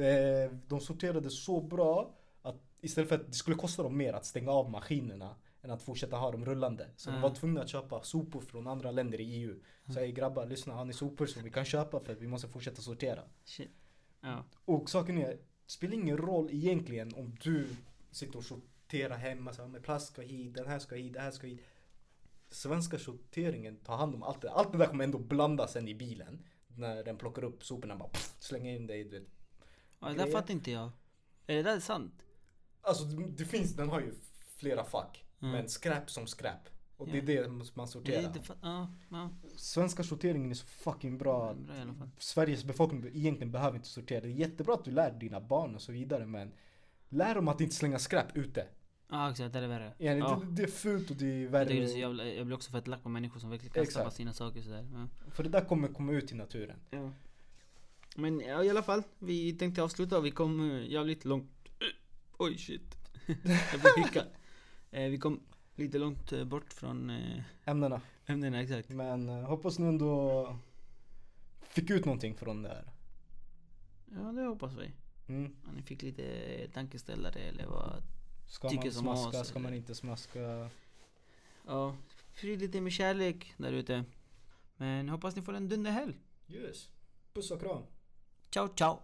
[SPEAKER 2] eh, de sorterade så bra att istället för att det skulle kosta dem mer att stänga av maskinerna än att fortsätta ha dem rullande. Så de
[SPEAKER 1] Mm.
[SPEAKER 2] var tvungna att köpa sopor från andra länder i EU. Så jag grabbar, lyssna, har ni sopor som vi kan köpa för att vi måste fortsätta sortera?
[SPEAKER 1] Shit. Ja.
[SPEAKER 2] Och saken är, det spelar ingen roll egentligen om du sitter och sorterar hemma så här, med plast ska hit, den här ska hit, det här ska hit. Svenska sorteringen tar hand om allt det där. Allt det där kommer ändå blandas sen i bilen. När den plockar upp soporna bara pff, slänger in dig. Du vet.
[SPEAKER 1] ja det där
[SPEAKER 2] Grejer.
[SPEAKER 1] fattar inte jag. Är det där sant?
[SPEAKER 2] Alltså det det finns, den har ju flera fack.
[SPEAKER 1] Mm.
[SPEAKER 2] Men skräp som skräp. Och det
[SPEAKER 1] Ja.
[SPEAKER 2] är det man
[SPEAKER 1] Det är
[SPEAKER 2] sorterar.
[SPEAKER 1] inte fa- ja, ja.
[SPEAKER 2] Svenska sorteringen är så fucking bra.
[SPEAKER 1] Bra i alla fall.
[SPEAKER 2] Sveriges befolkning egentligen behöver inte sortera. Det är jättebra att du lär dina barn och så vidare men lär dem att inte slänga skräp ute.
[SPEAKER 1] Ja exakt, det där är värre.
[SPEAKER 2] Ja,
[SPEAKER 1] Ja.
[SPEAKER 2] Det, det är fult och det är
[SPEAKER 1] Jag, tycker det är så
[SPEAKER 2] värre.
[SPEAKER 1] jävla, jag blir också fett lack på människor som verkligen kastar
[SPEAKER 2] Exakt.
[SPEAKER 1] bara sina saker sådär. Ja.
[SPEAKER 2] För det där kommer komma ut i naturen.
[SPEAKER 1] Ja. Men ja, i alla fall, vi tänkte avsluta. Vi kom eh, jävligt långt. Oj shit. Jag fick hicka. Eh, vi kom lite långt eh, bort från eh,
[SPEAKER 2] Ämnena.
[SPEAKER 1] ämnena exakt.
[SPEAKER 2] Men eh, hoppas ni ändå fick ut någonting från det här.
[SPEAKER 1] Ja, det hoppas vi.
[SPEAKER 2] Mm.
[SPEAKER 1] Ja, ni fick lite eh, tankeställare eller vad.
[SPEAKER 2] Ska
[SPEAKER 1] Tycker
[SPEAKER 2] man
[SPEAKER 1] som oss,
[SPEAKER 2] smaska? Ska
[SPEAKER 1] eller?
[SPEAKER 2] man inte smaska?
[SPEAKER 1] Ja, sprid lite med kärlek där ute. Men hoppas ni får en dunderhelg.
[SPEAKER 2] Yes. Puss och kram.
[SPEAKER 1] Ciao ciao.